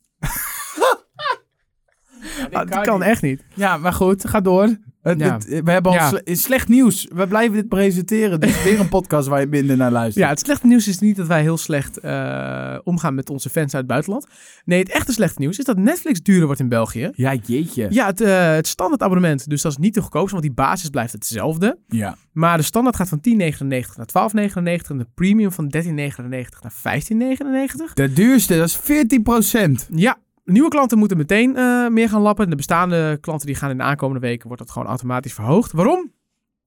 [SPEAKER 1] Ah, dat kan echt niet.
[SPEAKER 2] Ja, maar goed, ga door. Het-
[SPEAKER 1] Ja.
[SPEAKER 2] het- Eh, we hebben al
[SPEAKER 1] Ja.
[SPEAKER 2] sle- slecht nieuws. We blijven dit presenteren. Dit is weer een podcast waar je minder naar luistert.
[SPEAKER 1] Ja, het slechte nieuws is niet dat wij heel slecht eh, omgaan met onze fans uit het buitenland. Nee, het echte slechte nieuws is dat Netflix duurder wordt in België.
[SPEAKER 2] Ja, jeetje.
[SPEAKER 1] Ja, het, eh, het standaard abonnement, dus dat is niet de goedkoopste, want die basis blijft hetzelfde.
[SPEAKER 2] Ja.
[SPEAKER 1] Maar de standaard gaat van 10,99 naar 12,99 en de premium van 13,99 naar 15,99.
[SPEAKER 2] De duurste, dat is 14%.
[SPEAKER 1] Ja, nieuwe klanten moeten meteen eh, meer gaan lappen. De bestaande klanten die gaan in de aankomende weken wordt dat gewoon automatisch verhoogd. Waarom?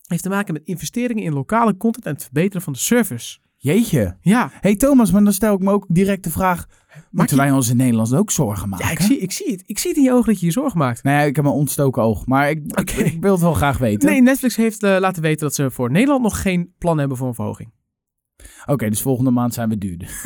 [SPEAKER 1] Heeft te maken met investeringen in lokale content en het verbeteren van de service.
[SPEAKER 2] Jeetje.
[SPEAKER 1] Ja,
[SPEAKER 2] hey Thomas, maar dan stel ik me ook direct de vraag... Moeten
[SPEAKER 1] je-
[SPEAKER 2] wij ons in Nederland ook zorgen maken?
[SPEAKER 1] ja ik, zie, ik, zie het. ik zie het in je ogen dat je je zorgen maakt.
[SPEAKER 2] Nou ja, ik heb een ontstoken oog. Maar ik, ik-
[SPEAKER 1] Oké.
[SPEAKER 2] ik wil het wel graag weten.
[SPEAKER 1] Nee, Netflix heeft eh, laten weten dat ze voor Nederland nog geen plan hebben voor een verhoging.
[SPEAKER 2] Oké, dus volgende maand zijn we duurder.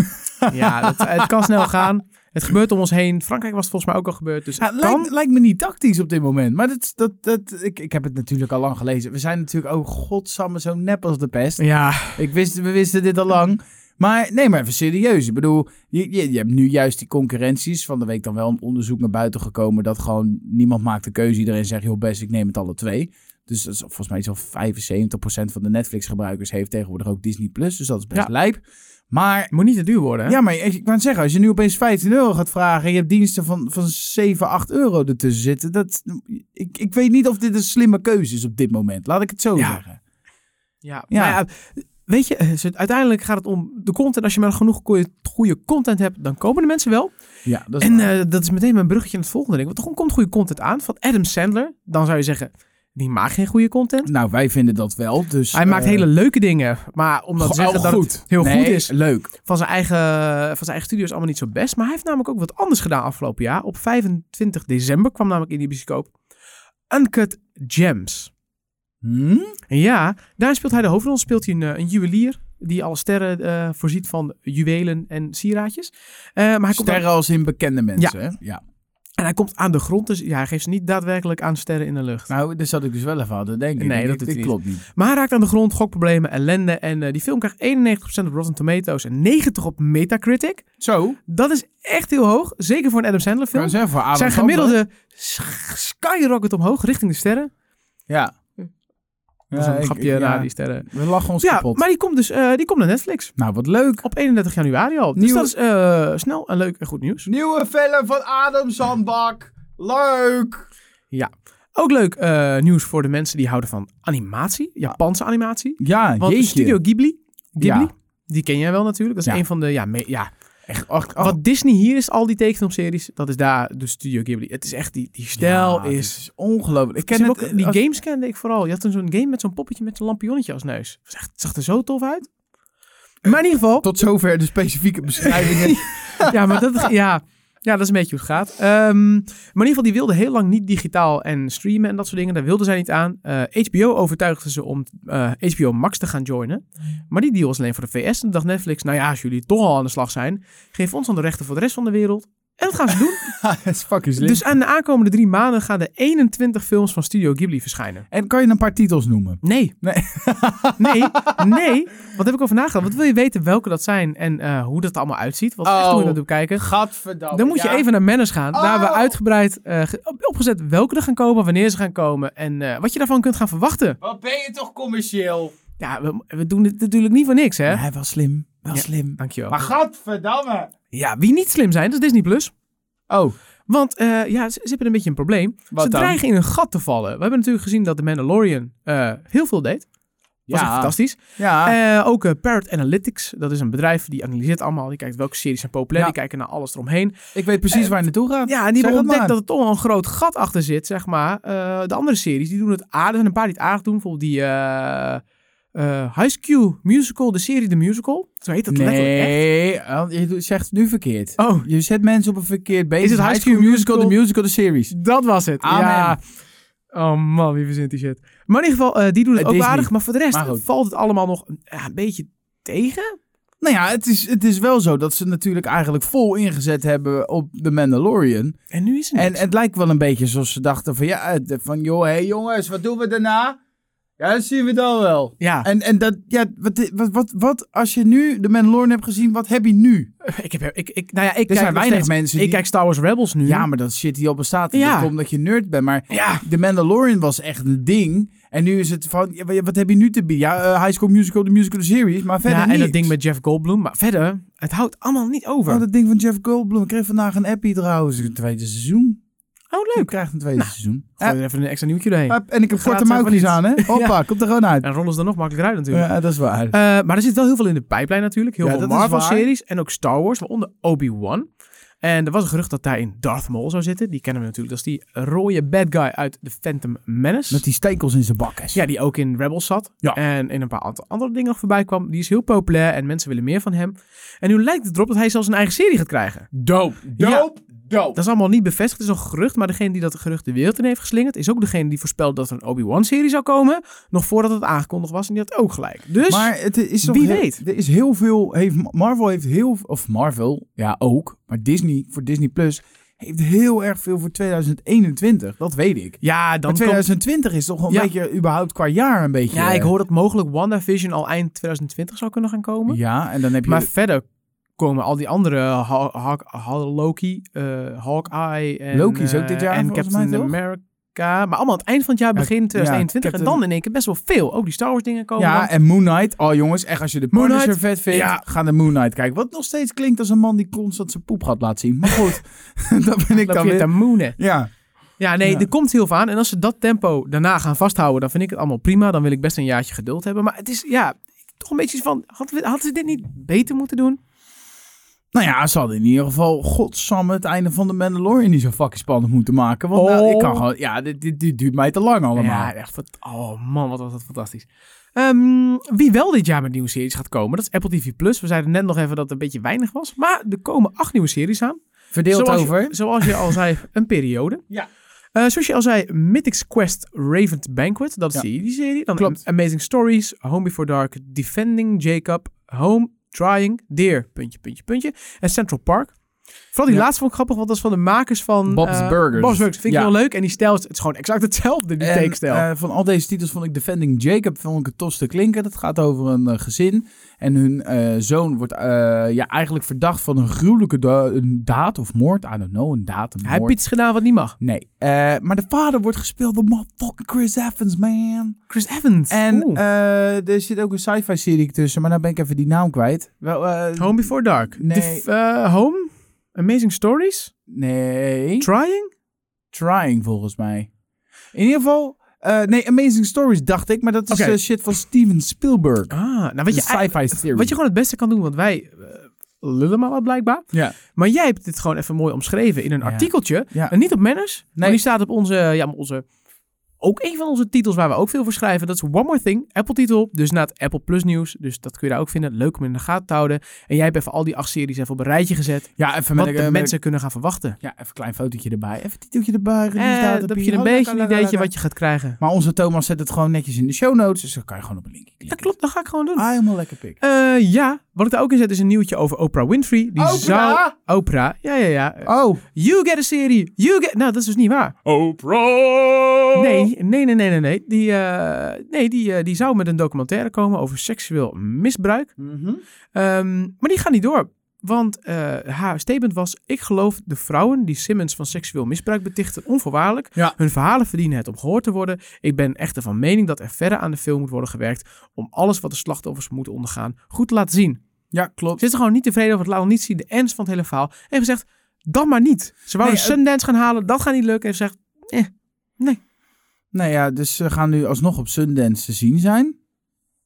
[SPEAKER 1] Ja, dat- het kan snel gaan. Het gebeurt om ons heen. Frankrijk was het volgens mij ook al gebeurd. Dus het kan.
[SPEAKER 2] lijkt, lijkt me niet tactisch op dit moment. Maar dat, dat, dat, ik, ik heb het natuurlijk al lang gelezen. We zijn natuurlijk, oh godsamme, zo nep als de pest.
[SPEAKER 1] Ja,
[SPEAKER 2] Ik wist, we wisten dit al lang. Maar nee, maar even serieus. Ik bedoel, je, je, je hebt nu juist die concurrenties. Van de week dan wel een onderzoek naar buiten gekomen. Dat gewoon niemand maakt de keuze. Iedereen zegt, joh best, ik neem het alle twee. Dus dat is volgens mij zo'n 75% van de Netflix gebruikers heeft tegenwoordig ook Disney+. Plus. Dus dat is best
[SPEAKER 1] Ja.
[SPEAKER 2] lijp. Maar
[SPEAKER 1] het moet niet te duur worden. Hè?
[SPEAKER 2] Ja, maar ik, ik wou het zeggen, als je nu opeens 15 euro gaat vragen en je hebt diensten van, van 7, 8 euro ertussen zitten, dat, ik, ik weet niet of dit een slimme keuze is op dit moment. Laat ik het zo
[SPEAKER 1] Ja.
[SPEAKER 2] zeggen.
[SPEAKER 1] Ja,
[SPEAKER 2] Ja.
[SPEAKER 1] maar ja, weet je, eh, ze- uiteindelijk gaat het om de content. Als je maar genoeg goeie- goede content hebt, dan komen de mensen wel.
[SPEAKER 2] Ja, dat is
[SPEAKER 1] En eh, dat is meteen mijn bruggetje aan het volgende ding. Want er gewoon komt goede content aan van Adam Sandler. Dan zou je zeggen, die maakt geen goede content.
[SPEAKER 2] Nou, wij vinden dat wel. Dus,
[SPEAKER 1] eh, Hij maakt hele leuke dingen, maar om dat te zeggen dat het heel goed is
[SPEAKER 2] Leuk.
[SPEAKER 1] van zijn, eigen, van zijn eigen studio is allemaal niet zo best. Maar hij heeft namelijk ook wat anders gedaan afgelopen jaar. Op 25 december kwam namelijk in die bioscoop Uncut Gems.
[SPEAKER 2] Hm?
[SPEAKER 1] Hmm? Ja, daar speelt hij de hoofdrol. Speelt hij een, eh, een juwelier die alle sterren eh, voorziet van juwelen en sieraadjes. Eh, maar hij komt, aan,
[SPEAKER 2] Sterren als in bekende mensen. hè? ja.
[SPEAKER 1] en hij komt aan de grond, dus ja, hij geeft ze niet daadwerkelijk aan sterren in de lucht.
[SPEAKER 2] Nou, daar zat ik dus wel even aan te denken.
[SPEAKER 1] Nee,
[SPEAKER 2] Dit-
[SPEAKER 1] dat doet
[SPEAKER 2] dit
[SPEAKER 1] hij
[SPEAKER 2] klopt niet.
[SPEAKER 1] Maar hij raakt aan de grond, gokproblemen, ellende. En eh, die film krijgt 91% op Rotten Tomatoes en 90% op Metacritic.
[SPEAKER 2] Zo,
[SPEAKER 1] Dat is echt heel hoog, zeker voor een Adam Sandler film.
[SPEAKER 2] nou, zeg, voor Adam
[SPEAKER 1] zijn
[SPEAKER 2] Sandler.
[SPEAKER 1] gemiddelde sch- skyrocket omhoog richting de sterren.
[SPEAKER 2] Ja.
[SPEAKER 1] Dat is een
[SPEAKER 2] Ja, ik-
[SPEAKER 1] grapje
[SPEAKER 2] ik- ja.
[SPEAKER 1] naar die sterren.
[SPEAKER 2] We lachen ons
[SPEAKER 1] Ja,
[SPEAKER 2] kapot.
[SPEAKER 1] maar die komt dus eh, die komt naar Netflix.
[SPEAKER 2] Nou, wat leuk.
[SPEAKER 1] Op 31 januari al. Dus
[SPEAKER 2] Nieuwe-
[SPEAKER 1] dat is eh, snel en leuk en goed nieuws.
[SPEAKER 2] Nieuwe film van Adam Zandbak. Leuk.
[SPEAKER 1] Ook leuk eh, nieuws voor de mensen die houden van animatie. Japanse animatie.
[SPEAKER 2] Ja,
[SPEAKER 1] Want
[SPEAKER 2] jeetje.
[SPEAKER 1] Studio Ghibli, Ghibli
[SPEAKER 2] Ja.
[SPEAKER 1] die ken jij wel natuurlijk. Dat is
[SPEAKER 2] Ja.
[SPEAKER 1] een van de... Ja, me- ja.
[SPEAKER 2] Echt, ach, ach,
[SPEAKER 1] Wat Disney hier is, al die tekenfilmseries, dat is daar de Studio Ghibli. Het is echt, die, die stijl
[SPEAKER 2] ja, het
[SPEAKER 1] is...
[SPEAKER 2] ongelooflijk. Ik
[SPEAKER 1] Ken
[SPEAKER 2] ken het, eh,
[SPEAKER 1] ook, die
[SPEAKER 2] als-
[SPEAKER 1] games kende ik vooral. Je had toen zo'n game met zo'n poppetje met zo'n lampionnetje als neus. Het zag- het zag er zo tof uit. Maar in ieder geval...
[SPEAKER 2] Tot zover de specifieke beschrijvingen.
[SPEAKER 1] ja, maar dat, ja, ja, dat is een beetje hoe het gaat. Ehm, maar in ieder geval, die wilden heel lang niet digitaal en streamen en dat soort dingen. Daar wilden zij niet aan. Eh, HBO overtuigde ze om eh, HBO Max te gaan joinen. Maar die deal was alleen voor de VS. En toen dacht Netflix, nou ja, als jullie toch al aan de slag zijn, geef ons dan de rechten voor de rest van de wereld. En dat gaan ze doen.
[SPEAKER 2] dat is fucking slim.
[SPEAKER 1] dus aan de aankomende drie maanden gaan er 21 films van Studio Ghibli verschijnen.
[SPEAKER 2] En kan je een paar titels noemen?
[SPEAKER 1] Nee.
[SPEAKER 2] Nee.
[SPEAKER 1] nee. Nee. Wat heb ik over nagedacht? Wat wil je weten welke dat zijn en eh, hoe dat er allemaal uitziet? Wat is echt hoe je
[SPEAKER 2] Oh.
[SPEAKER 1] dat doet kijken.
[SPEAKER 2] Gadverdamme.
[SPEAKER 1] Dan moet je
[SPEAKER 2] Oh, ja.
[SPEAKER 1] even naar Manus gaan. Daar hebben we
[SPEAKER 2] Oh.
[SPEAKER 1] uitgebreid eh, ge- op- opgezet welke er gaan komen, wanneer ze gaan komen en eh, wat je daarvan kunt gaan verwachten.
[SPEAKER 2] Wat ben je toch commercieel?
[SPEAKER 1] Ja, we, we doen dit natuurlijk niet voor niks, hè?
[SPEAKER 2] Hij was slim. Wel
[SPEAKER 1] Ja.
[SPEAKER 2] slim.
[SPEAKER 1] Dankjewel.
[SPEAKER 2] Maar gadverdamme.
[SPEAKER 1] Ja, wie niet slim zijn, dat is Disney+. Plus.
[SPEAKER 2] Oh,
[SPEAKER 1] Want eh, ja, ze, ze hebben een beetje een probleem.
[SPEAKER 2] Wat
[SPEAKER 1] ze
[SPEAKER 2] dan?
[SPEAKER 1] dreigen in een gat te vallen. We hebben natuurlijk gezien dat The Mandalorian eh, heel veel deed. Was echt fantastisch.
[SPEAKER 2] Ja.
[SPEAKER 1] Eh, ook eh, Parrot Analytics, dat is een bedrijf die analyseert allemaal. Die kijkt welke series zijn populair,
[SPEAKER 2] Ja.
[SPEAKER 1] die kijken naar alles eromheen.
[SPEAKER 2] ik weet precies waar je naartoe gaat.
[SPEAKER 1] Ja, en die hebben
[SPEAKER 2] Zeg het
[SPEAKER 1] ontdekt
[SPEAKER 2] maar.
[SPEAKER 1] dat er toch wel een groot gat achter zit, zeg maar. Eh, de andere series, die doen het aardig. Er zijn een paar die het aardig doen. Bijvoorbeeld die eh eh High School Musical, de serie The Musical. Zo heet dat letterlijk echt.
[SPEAKER 2] nee, want je doet- zegt het nu verkeerd.
[SPEAKER 1] Oh,
[SPEAKER 2] Je zet mensen op een verkeerd been.
[SPEAKER 1] Is het High School Musical?
[SPEAKER 2] de musical, de series?
[SPEAKER 1] Dat was het.
[SPEAKER 2] Amen.
[SPEAKER 1] Ja. Oh man, wie verzint die shit. Maar in ieder geval, eh, die doen het
[SPEAKER 2] Eh,
[SPEAKER 1] ook
[SPEAKER 2] Disney.
[SPEAKER 1] aardig. Maar voor de rest
[SPEAKER 2] Maar goed.
[SPEAKER 1] valt het allemaal nog ja, een beetje tegen.
[SPEAKER 2] Nou ja, het is, het is wel zo dat ze natuurlijk eigenlijk vol ingezet hebben op The Mandalorian.
[SPEAKER 1] En nu is het
[SPEAKER 2] En
[SPEAKER 1] niks.
[SPEAKER 2] het lijkt wel een beetje zoals ze dachten van ja, het- van joh, hé jongens, wat doen we daarna? Ja, dat zien we dan wel.
[SPEAKER 1] ja,
[SPEAKER 2] En, en dat, ja, wat, wat, wat, wat, als je nu The Mandalorian hebt gezien, wat heb je nu?
[SPEAKER 1] ik heb, ik, ik, nou ja, ik
[SPEAKER 2] Er
[SPEAKER 1] kijk
[SPEAKER 2] zijn
[SPEAKER 1] nog
[SPEAKER 2] weinig
[SPEAKER 1] steeds-
[SPEAKER 2] mensen
[SPEAKER 1] Ik
[SPEAKER 2] die-
[SPEAKER 1] kijk Star Wars Rebels nu.
[SPEAKER 2] Ja, maar dat shit die al bestaat. En
[SPEAKER 1] Ja.
[SPEAKER 2] Dat komt omdat je nerd bent. Maar
[SPEAKER 1] ja.
[SPEAKER 2] The Mandalorian was echt een ding. En nu is het van, ja, wat- wat heb je nu te bieden? Ja, eh, High School Musical, de musical, de series, maar verder
[SPEAKER 1] Ja, en
[SPEAKER 2] niks.
[SPEAKER 1] dat ding met Jeff Goldblum. Maar verder, het houdt allemaal niet over.
[SPEAKER 2] Oh, dat ding van Jeff Goldblum. Ik kreeg vandaag een appie trouwens. Een tweede seizoen.
[SPEAKER 1] Oh,
[SPEAKER 2] Je
[SPEAKER 1] leuk.
[SPEAKER 2] krijgt een tweede seizoen.
[SPEAKER 1] Gooi
[SPEAKER 2] Eh,
[SPEAKER 1] er even een extra nieuwtje doorheen.
[SPEAKER 2] hup, en ik heb korte
[SPEAKER 1] Gratis
[SPEAKER 2] mouwtjes
[SPEAKER 1] van
[SPEAKER 2] aan, hè? Hoppa, komt er gewoon uit.
[SPEAKER 1] En rollen ze dan nog makkelijker uit natuurlijk.
[SPEAKER 2] Ja, dat is waar.
[SPEAKER 1] Eh, maar er zit wel heel veel in de pijplijn natuurlijk. Heel
[SPEAKER 2] Ja,
[SPEAKER 1] veel
[SPEAKER 2] dat is
[SPEAKER 1] Marvel-series en ook Star Wars, waaronder Obi-Wan. En er was een gerucht dat daarin Darth Maul zou zitten. Die kennen we natuurlijk. Dat is die rode bad guy uit The Phantom Menace.
[SPEAKER 2] Met die stekels in zijn bakkes.
[SPEAKER 1] Ja, die ook in Rebels zat.
[SPEAKER 2] Ja.
[SPEAKER 1] En in een paar aantal andere dingen nog voorbij kwam. Die is heel populair en mensen willen meer van hem. En nu lijkt het erop dat hij zelfs een eigen serie gaat krijgen.
[SPEAKER 2] Dope,
[SPEAKER 1] dope,
[SPEAKER 2] dope.
[SPEAKER 1] Dat is allemaal niet bevestigd, het is nog een gerucht. Maar degene die dat gerucht de wereld in heeft geslingerd... is ook degene die voorspelde dat er een Obi-Wan-serie zou komen. Nog voordat het aangekondigd was. En die had ook gelijk. Dus...
[SPEAKER 2] Maar het is toch
[SPEAKER 1] Wie
[SPEAKER 2] heel-
[SPEAKER 1] weet.
[SPEAKER 2] Er is heel veel... Heeft, Marvel heeft heel... Of Marvel, ja ook. Maar Disney, voor Disney Plus... Heeft heel erg veel voor 2021. Dat weet ik.
[SPEAKER 1] ja, dan
[SPEAKER 2] Maar
[SPEAKER 1] komt-
[SPEAKER 2] 2020 is toch een
[SPEAKER 1] Ja.
[SPEAKER 2] beetje... Überhaupt qua jaar een beetje...
[SPEAKER 1] Ja, ik hoor dat mogelijk WandaVision al eind 2020 zou kunnen gaan komen.
[SPEAKER 2] eh, Ja, en dan heb je...
[SPEAKER 1] Maar verder komen al die andere Haw- Hawk, Haw- Loki, eh, Hawkeye en,
[SPEAKER 2] Loki is ook dit jaar
[SPEAKER 1] eh, en
[SPEAKER 2] volgens
[SPEAKER 1] Captain
[SPEAKER 2] mij, toch?
[SPEAKER 1] America. Maar allemaal aan het eind van het jaar,
[SPEAKER 2] Ja,
[SPEAKER 1] begin
[SPEAKER 2] ja,
[SPEAKER 1] 2021. en
[SPEAKER 2] Captain-
[SPEAKER 1] dan in één keer best wel veel. Ook die Star Wars dingen komen.
[SPEAKER 2] Ja,
[SPEAKER 1] dan.
[SPEAKER 2] en Moon Knight. Oh jongens, echt als je de
[SPEAKER 1] Oh, Moon
[SPEAKER 2] Punisher
[SPEAKER 1] Knight.
[SPEAKER 2] vet vindt,
[SPEAKER 1] Ja.
[SPEAKER 2] ga naar Moon Knight kijken. Wat nog steeds klinkt als een man die constant zijn poep gaat laten zien. Maar goed, dat ben ik
[SPEAKER 1] Loop
[SPEAKER 2] dan
[SPEAKER 1] je te
[SPEAKER 2] weer.
[SPEAKER 1] moenen.
[SPEAKER 2] Ja,
[SPEAKER 1] Ja, nee,
[SPEAKER 2] Ja.
[SPEAKER 1] er komt heel veel aan. En als ze dat tempo daarna gaan vasthouden, dan vind ik het allemaal prima. Dan wil ik best een jaartje geduld hebben. Maar het is, ja, toch een beetje iets van, hadden, we, hadden ze dit niet beter moeten doen?
[SPEAKER 2] nou ja, ze hadden in ieder geval godsamme het einde van de Mandalorian niet zo fucking spannend moeten maken. Want nou,
[SPEAKER 1] Oh.
[SPEAKER 2] ik kan gewoon, ja, dit, dit, dit duurt mij te lang allemaal.
[SPEAKER 1] Ja, echt. fant- Oh man, wat was dat fantastisch. Ehm, wie wel dit jaar met nieuwe series gaat komen, dat is Apple TV+. Plus. We zeiden net nog even dat het een beetje weinig was. Maar er komen acht nieuwe series aan.
[SPEAKER 2] Verdeeld
[SPEAKER 1] zoals
[SPEAKER 2] over.
[SPEAKER 1] Je, zoals je al zei, een periode.
[SPEAKER 2] Ja.
[SPEAKER 1] Eh, zoals je al zei, Mythic's Quest Raven's Banquet. Dat is
[SPEAKER 2] Ja.
[SPEAKER 1] die, die serie. Dan
[SPEAKER 2] Klopt.
[SPEAKER 1] Am- Amazing Stories, Home Before Dark, Defending Jacob, Home, Trying, Deer, puntje, puntje, puntje. En Central Park. Vooral die
[SPEAKER 2] Ja.
[SPEAKER 1] laatste vond ik grappig, want dat is van de makers van...
[SPEAKER 2] Bob's
[SPEAKER 1] eh,
[SPEAKER 2] Burgers.
[SPEAKER 1] Bob's Burgers. Vind ik
[SPEAKER 2] Ja.
[SPEAKER 1] heel leuk. En die stijl is, het is gewoon exact hetzelfde, die
[SPEAKER 2] En,
[SPEAKER 1] take-stijl.
[SPEAKER 2] eh, van al deze titels vond ik Defending Jacob vond ik het tofste klinken. Dat gaat over een eh, gezin. En hun eh, zoon wordt eh, ja, eigenlijk verdacht van een gruwelijke da- een daad of moord. I don't know, een daad, een
[SPEAKER 1] Hij heeft
[SPEAKER 2] moord.
[SPEAKER 1] iets gedaan wat niet mag.
[SPEAKER 2] Nee. Eh, maar de vader wordt gespeeld door motherfucking Chris Evans, man.
[SPEAKER 1] Chris Evans.
[SPEAKER 2] En
[SPEAKER 1] Oeh.
[SPEAKER 2] eh, er zit ook een sci-fi serie tussen, maar nou ben ik even die naam kwijt. Wel, eh,
[SPEAKER 1] Home Before Dark.
[SPEAKER 2] nee.
[SPEAKER 1] Def- eh, home? Amazing Stories?
[SPEAKER 2] Nee.
[SPEAKER 1] Trying?
[SPEAKER 2] Trying, volgens mij. In ieder geval... eh, nee, Amazing Stories dacht ik, maar dat is
[SPEAKER 1] Oké.
[SPEAKER 2] eh, shit van Steven Spielberg.
[SPEAKER 1] Ah, nou weet
[SPEAKER 2] Een
[SPEAKER 1] je,
[SPEAKER 2] sci-fi serie.
[SPEAKER 1] wat je gewoon het beste kan doen, want wij eh, lullen maar wat blijkbaar.
[SPEAKER 2] Ja.
[SPEAKER 1] Maar jij hebt dit gewoon even mooi omschreven in een
[SPEAKER 2] Ja.
[SPEAKER 1] artikeltje.
[SPEAKER 2] Ja.
[SPEAKER 1] En niet op Manners, maar die staat op onze, ja, maar onze ook een van onze titels waar we ook veel voor schrijven. Dat is One More Thing, Apple-titel. Dus na het Apple Plus nieuws. Dus dat kun je daar ook vinden. Leuk om in de gaten te houden. En jij hebt even al die acht series even op een rijtje gezet.
[SPEAKER 2] Ja, even
[SPEAKER 1] Wat
[SPEAKER 2] met,
[SPEAKER 1] de
[SPEAKER 2] eh, met-
[SPEAKER 1] mensen kunnen gaan verwachten.
[SPEAKER 2] Ja, even een klein fotootje erbij. Even een titeltje erbij.
[SPEAKER 1] Eh, dan heb je een beetje een ideetje wat je gaat krijgen.
[SPEAKER 2] Maar onze Thomas zet het gewoon netjes in de show notes. Dus dan kan je gewoon op een linkje klikken.
[SPEAKER 1] Dat klopt, dat ga ik gewoon doen.
[SPEAKER 2] Ah, helemaal lekker pik.
[SPEAKER 1] Eh, ja, wat ik daar ook in zet is een nieuwtje over Oprah Winfrey. Die
[SPEAKER 2] Oprah?
[SPEAKER 1] zou... Oprah? Ja, ja, ja.
[SPEAKER 2] Oh.
[SPEAKER 1] You get a serie. You get... Nou, dat is dus niet waar.
[SPEAKER 2] Oprah!
[SPEAKER 1] Nee, nee, nee, nee, nee. nee. Die, eh, nee die, eh, die zou met een documentaire komen over seksueel misbruik. Ehm, maar die gaat niet door. Want eh, haar statement was: Ik geloof de vrouwen die Simmons van seksueel misbruik betichten onvoorwaardelijk.
[SPEAKER 2] Ja.
[SPEAKER 1] Hun verhalen verdienen het om gehoord te worden. Ik ben echter van mening dat er verder aan de film moet worden gewerkt. om alles wat de slachtoffers moeten ondergaan goed te laten zien.
[SPEAKER 2] Ja, klopt.
[SPEAKER 1] Ze is er gewoon niet tevreden over het laten niet zien, de ernst van het hele verhaal. En heeft gezegd: Dan maar niet. Ze wouden
[SPEAKER 2] Nee, eh,
[SPEAKER 1] Sundance gaan halen, dat gaat niet lukken. En heeft gezegd:
[SPEAKER 2] Nou ja, dus ze gaan nu alsnog op Sundance te zien zijn.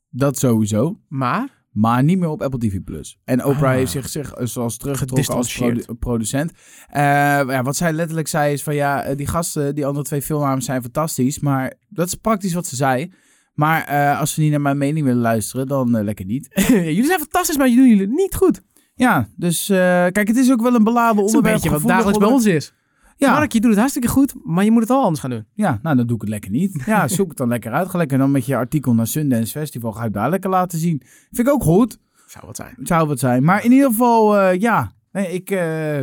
[SPEAKER 2] Dat sowieso.
[SPEAKER 1] Maar
[SPEAKER 2] Maar niet meer op Apple TV+. En Oprah
[SPEAKER 1] Ah.
[SPEAKER 2] heeft zich, zich eh, zoals teruggetrokken als
[SPEAKER 1] Gedistanceerd.
[SPEAKER 2] produ- producent. Eh, ja, wat zij letterlijk zei is van ja, eh, die gasten, die andere twee filmnamen zijn fantastisch. Maar dat is praktisch wat ze zei. Maar eh, als ze niet naar mijn mening willen luisteren, dan eh, lekker niet.
[SPEAKER 1] Ja, jullie zijn fantastisch, maar jullie doen jullie niet goed. Het
[SPEAKER 2] Ja, dus eh, kijk, het is ook wel een beladen
[SPEAKER 1] is een
[SPEAKER 2] onderwerp.
[SPEAKER 1] beetje wat
[SPEAKER 2] gevoelig
[SPEAKER 1] dagelijks bij
[SPEAKER 2] onder-
[SPEAKER 1] ons is.
[SPEAKER 2] Ja,
[SPEAKER 1] Mark, je doet het hartstikke goed, maar je moet het al anders gaan doen.
[SPEAKER 2] ja, nou dan doe ik het lekker niet. Ja, zoek het dan lekker uit. Ga lekker dan met je artikel naar Sundance Festival. Ga je daar lekker laten zien. Vind ik ook goed.
[SPEAKER 1] Zou wat zijn.
[SPEAKER 2] Het zou wat zijn. Maar in ieder geval, eh, ja. Nee, ik, eh,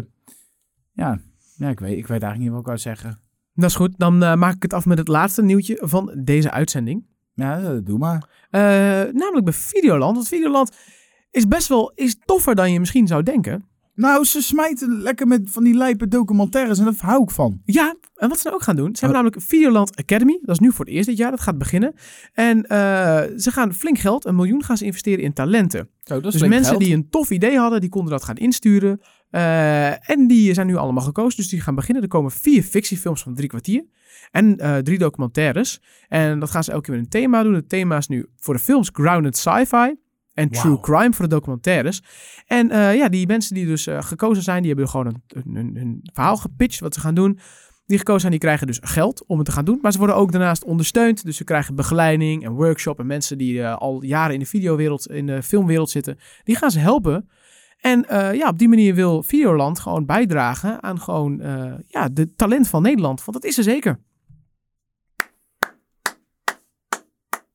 [SPEAKER 2] ja. ja, ik weet, ik weet eigenlijk niet wat ik wou zeggen.
[SPEAKER 1] Dat is goed, dan eh, maak ik het af met het laatste nieuwtje van deze uitzending.
[SPEAKER 2] Ja, eh, doe maar.
[SPEAKER 1] Eh, namelijk bij Videoland. Want Videoland is best wel is toffer dan je misschien zou denken.
[SPEAKER 2] Nou, ze smijten lekker met van die lijpe documentaires en daar hou ik van.
[SPEAKER 1] Ja, en wat ze nou ook gaan doen, ze hebben namelijk Videoland Academy. Dat is nu voor het eerst dit jaar, dat gaat beginnen. En eh, ze gaan flink geld, een miljoen gaan ze investeren in talenten.
[SPEAKER 2] Zo, dat
[SPEAKER 1] Dus mensen die een tof idee hadden, die konden dat gaan insturen. Eh, en die zijn nu allemaal gekozen. Dus die gaan beginnen. Er komen vier fictiefilms van drie kwartier. En eh, drie documentaires. En dat gaan ze elke keer met een thema doen. Het thema is nu voor de films Grounded Sci-Fi. En True
[SPEAKER 2] Wauw.
[SPEAKER 1] Crime voor de documentaires. En eh, ja, die mensen die dus eh, gekozen zijn, die hebben gewoon een, een, een, een verhaal gepitcht wat ze gaan doen. Die gekozen zijn, die krijgen dus geld om het te gaan doen. Maar ze worden ook daarnaast ondersteund. Dus ze krijgen begeleiding en workshop. En mensen die eh, al jaren in de videowereld, in de filmwereld zitten, die gaan ze helpen. En eh, ja, op die manier wil Videoland gewoon bijdragen aan gewoon, eh, ja, de talent van Nederland. Want dat is er zeker.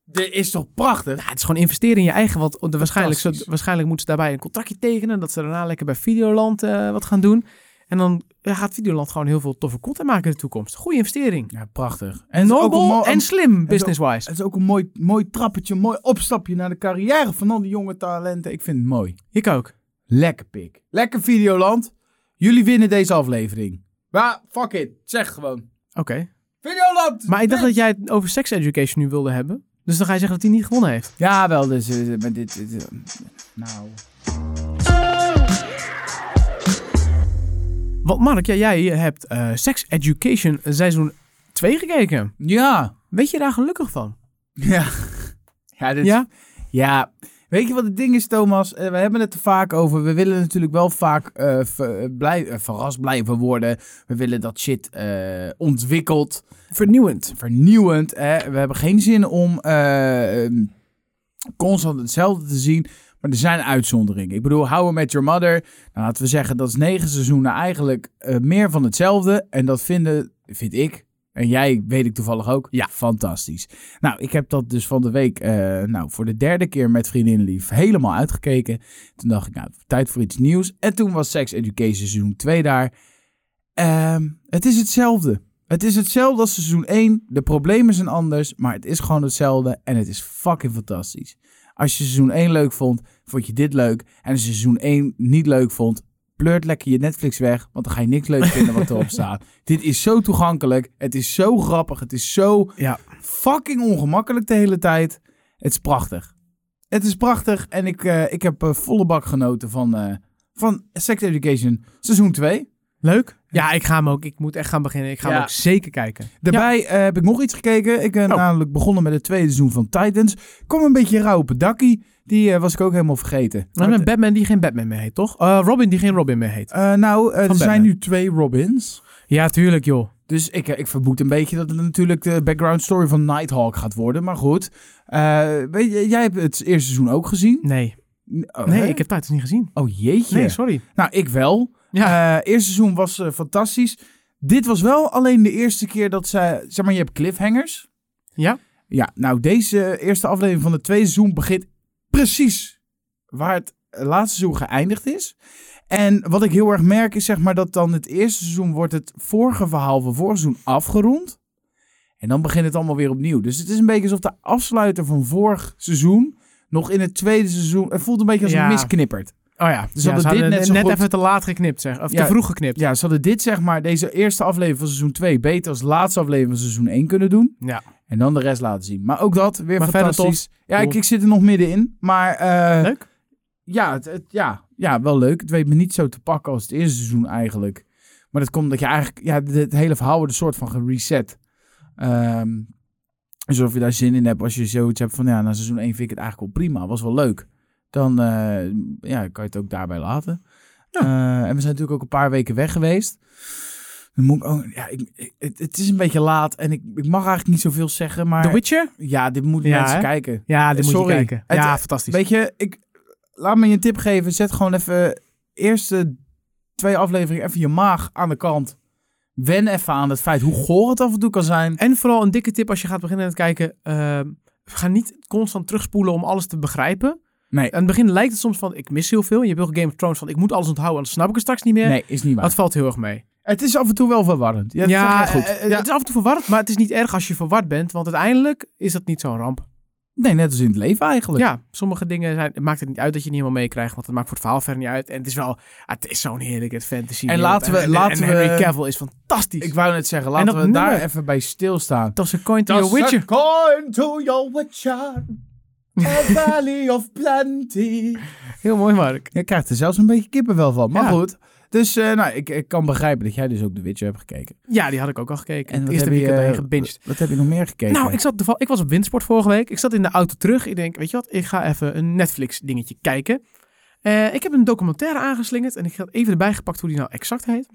[SPEAKER 2] Dit is toch prachtig?
[SPEAKER 1] Ja, het is gewoon investeren in je eigen. Want de- waarschijnlijk, zo,
[SPEAKER 2] Fantastisch.
[SPEAKER 1] waarschijnlijk moeten ze daarbij een contractje tekenen. Dat ze daarna lekker bij Videoland eh, wat gaan doen. En dan ja, gaat Videoland gewoon heel veel toffe content maken in de toekomst. Goede investering.
[SPEAKER 2] Ja, prachtig. En
[SPEAKER 1] Nobel
[SPEAKER 2] mo-
[SPEAKER 1] en slim,
[SPEAKER 2] is ook-
[SPEAKER 1] business-wise.
[SPEAKER 2] Het is ook een mooi, mooi trappetje, een mooi opstapje naar de carrière van al die jonge talenten. Ik vind het mooi.
[SPEAKER 1] Ik ook.
[SPEAKER 2] Lekker pik. Lekker Videoland. Jullie winnen deze aflevering. Maar fuck it. Zeg gewoon.
[SPEAKER 1] Oké.
[SPEAKER 2] Videoland!
[SPEAKER 1] Maar ik dacht dat jij het over sex education nu wilde hebben. Dus dan ga je zeggen dat hij niet gewonnen heeft.
[SPEAKER 2] Ja, wel, dus eh, met dit... dit, eh, nou...
[SPEAKER 1] Want Mark, ja, jij hebt eh, Sex Education seizoen 2 gekeken.
[SPEAKER 2] Ja.
[SPEAKER 1] Weet je daar gelukkig van?
[SPEAKER 2] Ja. Ja, dit,
[SPEAKER 1] Ja?
[SPEAKER 2] Ja, weet je wat het ding is, Thomas? Eh, we hebben het er vaak over. We willen natuurlijk wel vaak eh, ver- eh, blij- eh, verrast blijven worden. We willen dat shit eh, ontwikkeld,
[SPEAKER 1] Vernieuwend.
[SPEAKER 2] vernieuwend. Hè? We hebben geen zin om eh, ehm, constant hetzelfde te zien. Maar er zijn uitzonderingen. Ik bedoel, How I Met Your Mother. Nou, laten we zeggen, dat is negen seizoenen eigenlijk eh, meer van hetzelfde. En dat vinden, vind ik, en jij weet ik toevallig ook,
[SPEAKER 1] Ja.
[SPEAKER 2] fantastisch. Nou, ik heb dat dus van de week, eh, nou, voor de derde keer met Vriendin Lief helemaal uitgekeken. Toen dacht ik, nou, tijd voor iets nieuws. En toen was Sex Education seizoen 2 daar. Ehm, het is hetzelfde. Het is hetzelfde als seizoen 1. De problemen zijn anders, maar het is gewoon hetzelfde. En het is fucking fantastisch. Als je seizoen 1 leuk vond, vond je dit leuk. En als je seizoen 1 niet leuk vond, pleurt lekker je Netflix weg. Want dan ga je niks leuk vinden wat erop staat. Dit is zo toegankelijk. Het is zo grappig. Het is zo
[SPEAKER 1] Ja.
[SPEAKER 2] fucking ongemakkelijk de hele tijd. Het is prachtig. Het is prachtig. En ik, eh, ik heb eh, volle bak genoten van, eh, van Sex Education seizoen 2.
[SPEAKER 1] Leuk? Ja, ik ga hem ook. Ik moet echt gaan beginnen. Ik ga
[SPEAKER 2] Ja.
[SPEAKER 1] hem ook zeker kijken.
[SPEAKER 2] Daarbij eh, heb ik nog iets gekeken. Ik ben
[SPEAKER 1] Oh.
[SPEAKER 2] namelijk begonnen met het tweede seizoen van Titans. Kom een beetje rauw op het dakkie. Die eh, was ik ook helemaal vergeten.
[SPEAKER 1] Maar met Batman die geen Batman meer heet, toch? Eh, Robin die geen Robin meer heet.
[SPEAKER 2] Eh, nou, eh, er
[SPEAKER 1] Batman.
[SPEAKER 2] zijn nu twee Robins.
[SPEAKER 1] Ja, tuurlijk, joh.
[SPEAKER 2] Dus ik, eh, ik vermoed een beetje dat het natuurlijk de background story van Nighthawk gaat worden. Maar goed, Eh, weet je, jij hebt het eerste seizoen ook gezien.
[SPEAKER 1] Nee,
[SPEAKER 2] Oh,
[SPEAKER 1] nee
[SPEAKER 2] hè?
[SPEAKER 1] ik heb Titans niet gezien.
[SPEAKER 2] Oh jeetje.
[SPEAKER 1] Nee, sorry.
[SPEAKER 2] Nou, ik wel. Eh, eerste seizoen was eh, fantastisch. Dit was wel alleen de eerste keer dat ze... Zeg maar, je hebt cliffhangers.
[SPEAKER 1] Ja?
[SPEAKER 2] Ja, nou, deze eerste aflevering van het tweede seizoen begint precies waar het laatste seizoen geëindigd is. En wat ik heel erg merk is zeg maar dat dan het eerste seizoen wordt het vorige verhaal van vorig seizoen afgerond. En dan begint het allemaal weer opnieuw. Dus het is een beetje alsof de afsluiter van vorig seizoen nog in het tweede seizoen... Het voelt een beetje als
[SPEAKER 1] Ja.
[SPEAKER 2] een misknipperd.
[SPEAKER 1] Oh ja. Dus
[SPEAKER 2] ze
[SPEAKER 1] ja,
[SPEAKER 2] hadden
[SPEAKER 1] ze
[SPEAKER 2] dit
[SPEAKER 1] hadden
[SPEAKER 2] net
[SPEAKER 1] net,
[SPEAKER 2] zo goed-
[SPEAKER 1] even te laat geknipt, zeg. Of
[SPEAKER 2] Ja.
[SPEAKER 1] te vroeg geknipt.
[SPEAKER 2] Ja, ze hadden dit zeg maar, deze eerste aflevering van seizoen 2 beter als laatste aflevering van seizoen 1 kunnen doen.
[SPEAKER 1] Ja.
[SPEAKER 2] En dan de rest laten zien. Maar ook dat, weer
[SPEAKER 1] Maar verder
[SPEAKER 2] fantastisch. Ja, ik,
[SPEAKER 1] Cool.
[SPEAKER 2] ik zit er nog middenin. Maar eh,
[SPEAKER 1] Leuk.
[SPEAKER 2] Ja, het, het- ja, ja, wel leuk. Het weet me niet zo te pakken als het eerste seizoen eigenlijk. Maar dat komt dat je eigenlijk... Ja, dit- het hele verhaal wordt een soort van gereset. Ehm alsof je daar zin in hebt als je zoiets hebt van... Ja, na seizoen 1 vind ik het eigenlijk wel prima. Was wel leuk. Dan eh, ja, kan je het ook daarbij laten. Eh, en we zijn natuurlijk ook een paar weken weg geweest. Dan moet ik ook, ja, ik, ik- het, het is een beetje laat en ik, ik mag eigenlijk niet zoveel zeggen, maar...
[SPEAKER 1] The Witcher?
[SPEAKER 2] Ja, dit moeten
[SPEAKER 1] Ja,
[SPEAKER 2] mensen
[SPEAKER 1] hè?
[SPEAKER 2] kijken.
[SPEAKER 1] Ja, die moet
[SPEAKER 2] Sorry.
[SPEAKER 1] je kijken.
[SPEAKER 2] Het-
[SPEAKER 1] ja, fantastisch.
[SPEAKER 2] Weet je, ik, laat me je een tip geven. Zet gewoon even eerste twee afleveringen even je maag aan de kant. Wen even aan het feit hoe goor het af en toe kan zijn.
[SPEAKER 1] En vooral een dikke tip als je gaat beginnen met kijken. ehm, ga niet constant terugspoelen om alles te begrijpen.
[SPEAKER 2] Nee.
[SPEAKER 1] Aan het begin lijkt het soms van, ik mis heel veel. Je hebt heel veel Game of Thrones van, ik moet alles onthouden, anders snap ik het straks niet meer.
[SPEAKER 2] Nee, is niet waar.
[SPEAKER 1] Dat valt heel erg mee.
[SPEAKER 2] Het is af en toe wel verwarrend. Ja, dat
[SPEAKER 1] ja,
[SPEAKER 2] zeg je goed.
[SPEAKER 1] eh, eh, het is af en toe verward, maar het is niet erg als je verward bent. Want uiteindelijk is dat niet zo'n ramp.
[SPEAKER 2] Nee, net als in het leven eigenlijk.
[SPEAKER 1] Ja, sommige dingen zijn, het maakt het niet uit dat je niet helemaal meekrijgt. Want het maakt voor het verhaal verder niet uit. En het is wel, ah, het is zo'n heerlijke fantasy.
[SPEAKER 2] En laten we-
[SPEAKER 1] En, en-
[SPEAKER 2] laten
[SPEAKER 1] en
[SPEAKER 2] we-
[SPEAKER 1] Henry Cavill is fantastisch.
[SPEAKER 2] Ik wou net zeggen, laten
[SPEAKER 1] dat
[SPEAKER 2] we
[SPEAKER 1] nummer.
[SPEAKER 2] daar even bij stilstaan.
[SPEAKER 1] Toss a coin to your
[SPEAKER 2] Toss a
[SPEAKER 1] witcher.
[SPEAKER 2] coin to your witcher. A valley of plenty.
[SPEAKER 1] Heel mooi, Mark.
[SPEAKER 2] Je krijgt er zelfs een beetje kippenvel van. Maar
[SPEAKER 1] Ja.
[SPEAKER 2] goed. Dus eh, nou, ik, ik kan begrijpen dat jij dus ook de Witcher hebt gekeken.
[SPEAKER 1] Ja, die had ik ook al gekeken.
[SPEAKER 2] En
[SPEAKER 1] het
[SPEAKER 2] wat
[SPEAKER 1] eerste
[SPEAKER 2] heb je,
[SPEAKER 1] weekend
[SPEAKER 2] eh,
[SPEAKER 1] heen gebinged.
[SPEAKER 2] Wat heb je nog meer gekeken?
[SPEAKER 1] Nou, ik, zat toeval- ik was op windsport vorige week. Ik zat in de auto terug. Ik denk, weet je wat, ik ga even een Netflix dingetje kijken. Eh, ik heb een documentaire aangeslingerd en ik had even erbij gepakt hoe die nou exact heet.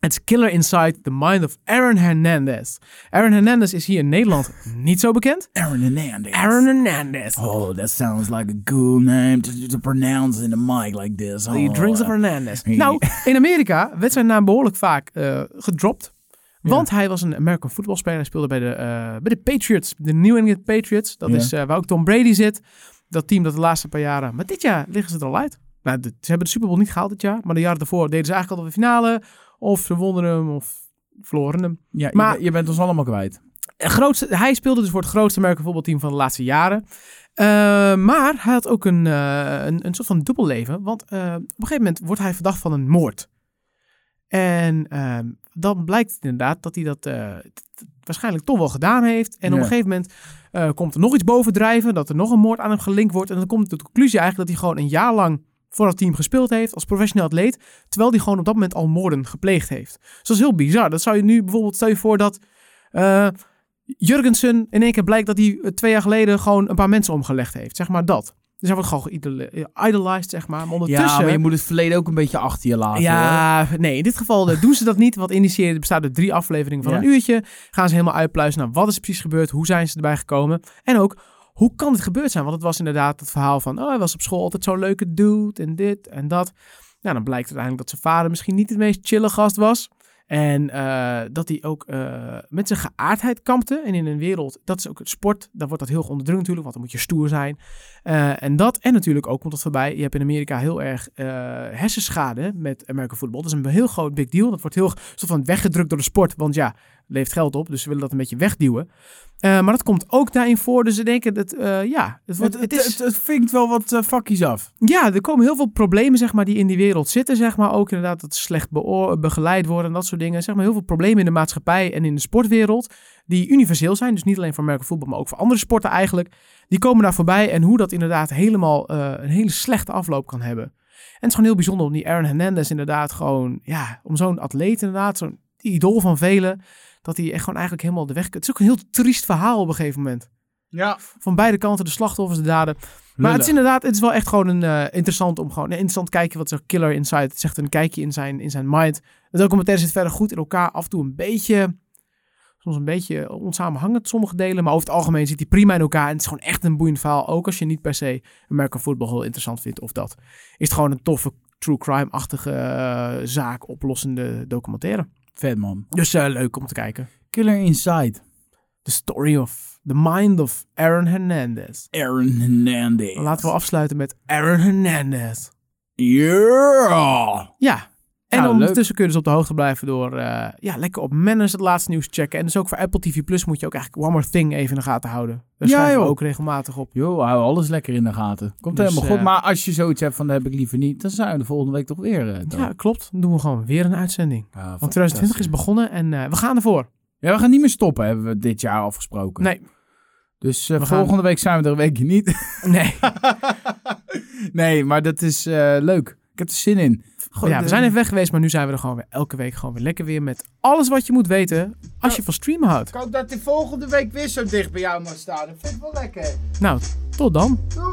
[SPEAKER 1] Het is Killer Inside the Mind of Aaron Hernandez. Aaron Hernandez is hier in Nederland niet zo bekend.
[SPEAKER 2] Aaron Hernandez.
[SPEAKER 1] Aaron Hernandez.
[SPEAKER 2] Oh, that sounds like a cool name to, to pronounce in the mic like this.
[SPEAKER 1] The
[SPEAKER 2] Oh,
[SPEAKER 1] Drinks of
[SPEAKER 2] eh.
[SPEAKER 1] Hernandez.
[SPEAKER 2] Hey.
[SPEAKER 1] Nou, in Amerika werd zijn naam behoorlijk vaak eh, gedropt. Want hij was een American voetbalspeler. Hij speelde bij de, eh, bij de Patriots. De New England Patriots. Dat
[SPEAKER 2] Ja.
[SPEAKER 1] is eh, waar ook Tom Brady zit. Dat team dat de laatste paar jaren... Maar dit jaar liggen ze er al uit. Nou, de- ze hebben de Super Bowl niet gehaald dit jaar. Maar de jaren daarvoor deden ze eigenlijk altijd de finale. Of ze wonnen hem of verloren hem.
[SPEAKER 2] Ja, je
[SPEAKER 1] Maar-
[SPEAKER 2] ben- je, bent ons allemaal kwijt.
[SPEAKER 1] Het grootste, hij speelde dus voor het grootste American voetbalteam van de laatste jaren. Eh, maar hij had ook een, eh, een, een soort van dubbelleven. Want eh, op een gegeven moment wordt hij verdacht van een moord. En eh, dan blijkt het inderdaad dat hij dat eh, t- t- waarschijnlijk toch wel gedaan heeft. En op
[SPEAKER 2] Ja.
[SPEAKER 1] een gegeven moment eh, komt er nog iets bovendrijven. Dat er nog een moord aan hem gelinkt wordt. En dan komt de conclusie eigenlijk dat hij gewoon een jaar lang voor dat team gespeeld heeft. Als professioneel atleet. Terwijl hij gewoon op dat moment al moorden gepleegd heeft. Dus dat is heel bizar. Dat zou je nu bijvoorbeeld, stel je voor dat... eh, Jurgensen in één keer blijkt dat hij eh, twee jaar geleden gewoon een paar mensen omgelegd heeft. Zeg maar dat. Dus hij wordt gewoon geïdolized, zeg maar. Maar ondertussen...
[SPEAKER 2] Ja, maar je moet het verleden ook een beetje achter je laten. hoor.
[SPEAKER 1] Ja, nee, in dit geval eh, doen ze dat niet. Want in die serie bestaat uit drie afleveringen van
[SPEAKER 2] Ja.
[SPEAKER 1] een uurtje. Gaan ze helemaal uitpluizen naar wat is er precies gebeurd. Hoe zijn ze erbij gekomen. En ook, hoe kan dit gebeurd zijn? Want het was inderdaad het verhaal van... Oh, hij was op school altijd zo'n leuke dude en dit en dat. Nou, dan blijkt uiteindelijk dat zijn vader misschien niet de meest chille gast was. En eh, dat hij ook eh, met zijn geaardheid kampte. En in een wereld, dat is ook het sport, daar wordt dat heel erg onder druk natuurlijk, want dan moet je stoer zijn. Eh, en dat, en natuurlijk ook komt dat voorbij, je hebt in Amerika heel erg eh, hersenschade met American football. Dat is een heel groot big deal. Dat wordt heel erg soort van weggedrukt door de sport, want ja, het levert geld op, dus ze willen dat een beetje wegduwen. Eh, maar dat komt ook daarin voor, dus ze denken dat, eh, ja, het, wordt,
[SPEAKER 2] Het, het, het, het vinkt wel wat eh, vakjes af.
[SPEAKER 1] ja, er komen heel veel problemen zeg maar, die in die wereld zitten. Zeg maar. Ook inderdaad dat ze slecht beo- begeleid worden en dat soort dingen. Zeg maar, heel veel problemen in de maatschappij en in de sportwereld. Die universeel zijn. Dus niet alleen voor merken voetbal, maar ook voor andere sporten eigenlijk. Die komen daar voorbij. En hoe dat inderdaad helemaal eh, een hele slechte afloop kan hebben. En het is gewoon heel bijzonder om die Aaron Hernandez inderdaad gewoon... Ja, om zo'n atleet inderdaad, zo'n idool van velen... Dat hij echt gewoon eigenlijk helemaal de weg... Het is ook een heel triest verhaal op een gegeven moment
[SPEAKER 2] Ja.
[SPEAKER 1] van beide kanten de slachtoffers, de daden. Maar het
[SPEAKER 2] Lullig.
[SPEAKER 1] is inderdaad, het is wel echt gewoon een eh, interessant om gewoon een interessant kijkje wat zo'n killer inside. Het is echt een kijkje in zijn, in zijn mind. De documentaire zit verder goed in elkaar. Af en toe een beetje, soms een beetje onsamenhangend sommige delen. Maar over het algemeen zit hij prima in elkaar. En het is gewoon echt een boeiend verhaal. Ook als je niet per se American Football heel interessant vindt of dat. Is het gewoon een toffe true crime-achtige eh, zaak oplossende documentaire.
[SPEAKER 2] Vet man.
[SPEAKER 1] Dus eh, leuk om te kijken.
[SPEAKER 2] Killer Inside.
[SPEAKER 1] The story of the mind of Aaron Hernandez.
[SPEAKER 2] Aaron Hernandez.
[SPEAKER 1] Laten we afsluiten met Aaron Hernandez.
[SPEAKER 2] Yeah!
[SPEAKER 1] Ja. En
[SPEAKER 2] Nou, leuk.
[SPEAKER 1] ondertussen kun je dus op de hoogte blijven door eh, ja, lekker op Manners het laatste nieuws te checken. En dus ook voor Apple TV Plus moet je ook eigenlijk One More Thing even in de gaten houden. Daar
[SPEAKER 2] Ja,
[SPEAKER 1] schrijven we
[SPEAKER 2] joh.
[SPEAKER 1] ook regelmatig op.
[SPEAKER 2] Yo, hou alles lekker in de gaten. Komt
[SPEAKER 1] Dus,
[SPEAKER 2] helemaal goed.
[SPEAKER 1] eh,
[SPEAKER 2] maar als je zoiets hebt van dat heb ik liever niet, dan zijn we de volgende week toch weer. eh, dan.
[SPEAKER 1] Ja, klopt. Dan doen we gewoon weer een uitzending.
[SPEAKER 2] Ah,
[SPEAKER 1] Want 2020 is
[SPEAKER 2] fantastisch.
[SPEAKER 1] begonnen en eh, we gaan ervoor.
[SPEAKER 2] Ja, we gaan niet meer stoppen, hebben we dit jaar afgesproken.
[SPEAKER 1] Nee,
[SPEAKER 2] Dus eh,
[SPEAKER 1] We gaan-
[SPEAKER 2] volgende week zijn we er een weekje niet.
[SPEAKER 1] nee.
[SPEAKER 2] nee, maar dat is eh, leuk. Ik heb er zin in. Goed,
[SPEAKER 1] ja,
[SPEAKER 2] eh,
[SPEAKER 1] we zijn even weg geweest, maar nu zijn we er gewoon weer elke week gewoon weer lekker weer met alles wat je moet weten als je van streamen houdt.
[SPEAKER 2] Ik hoop dat die volgende week weer zo dicht bij jou mag staan. Dat vind ik wel lekker.
[SPEAKER 1] Nou, tot dan.
[SPEAKER 2] Doei!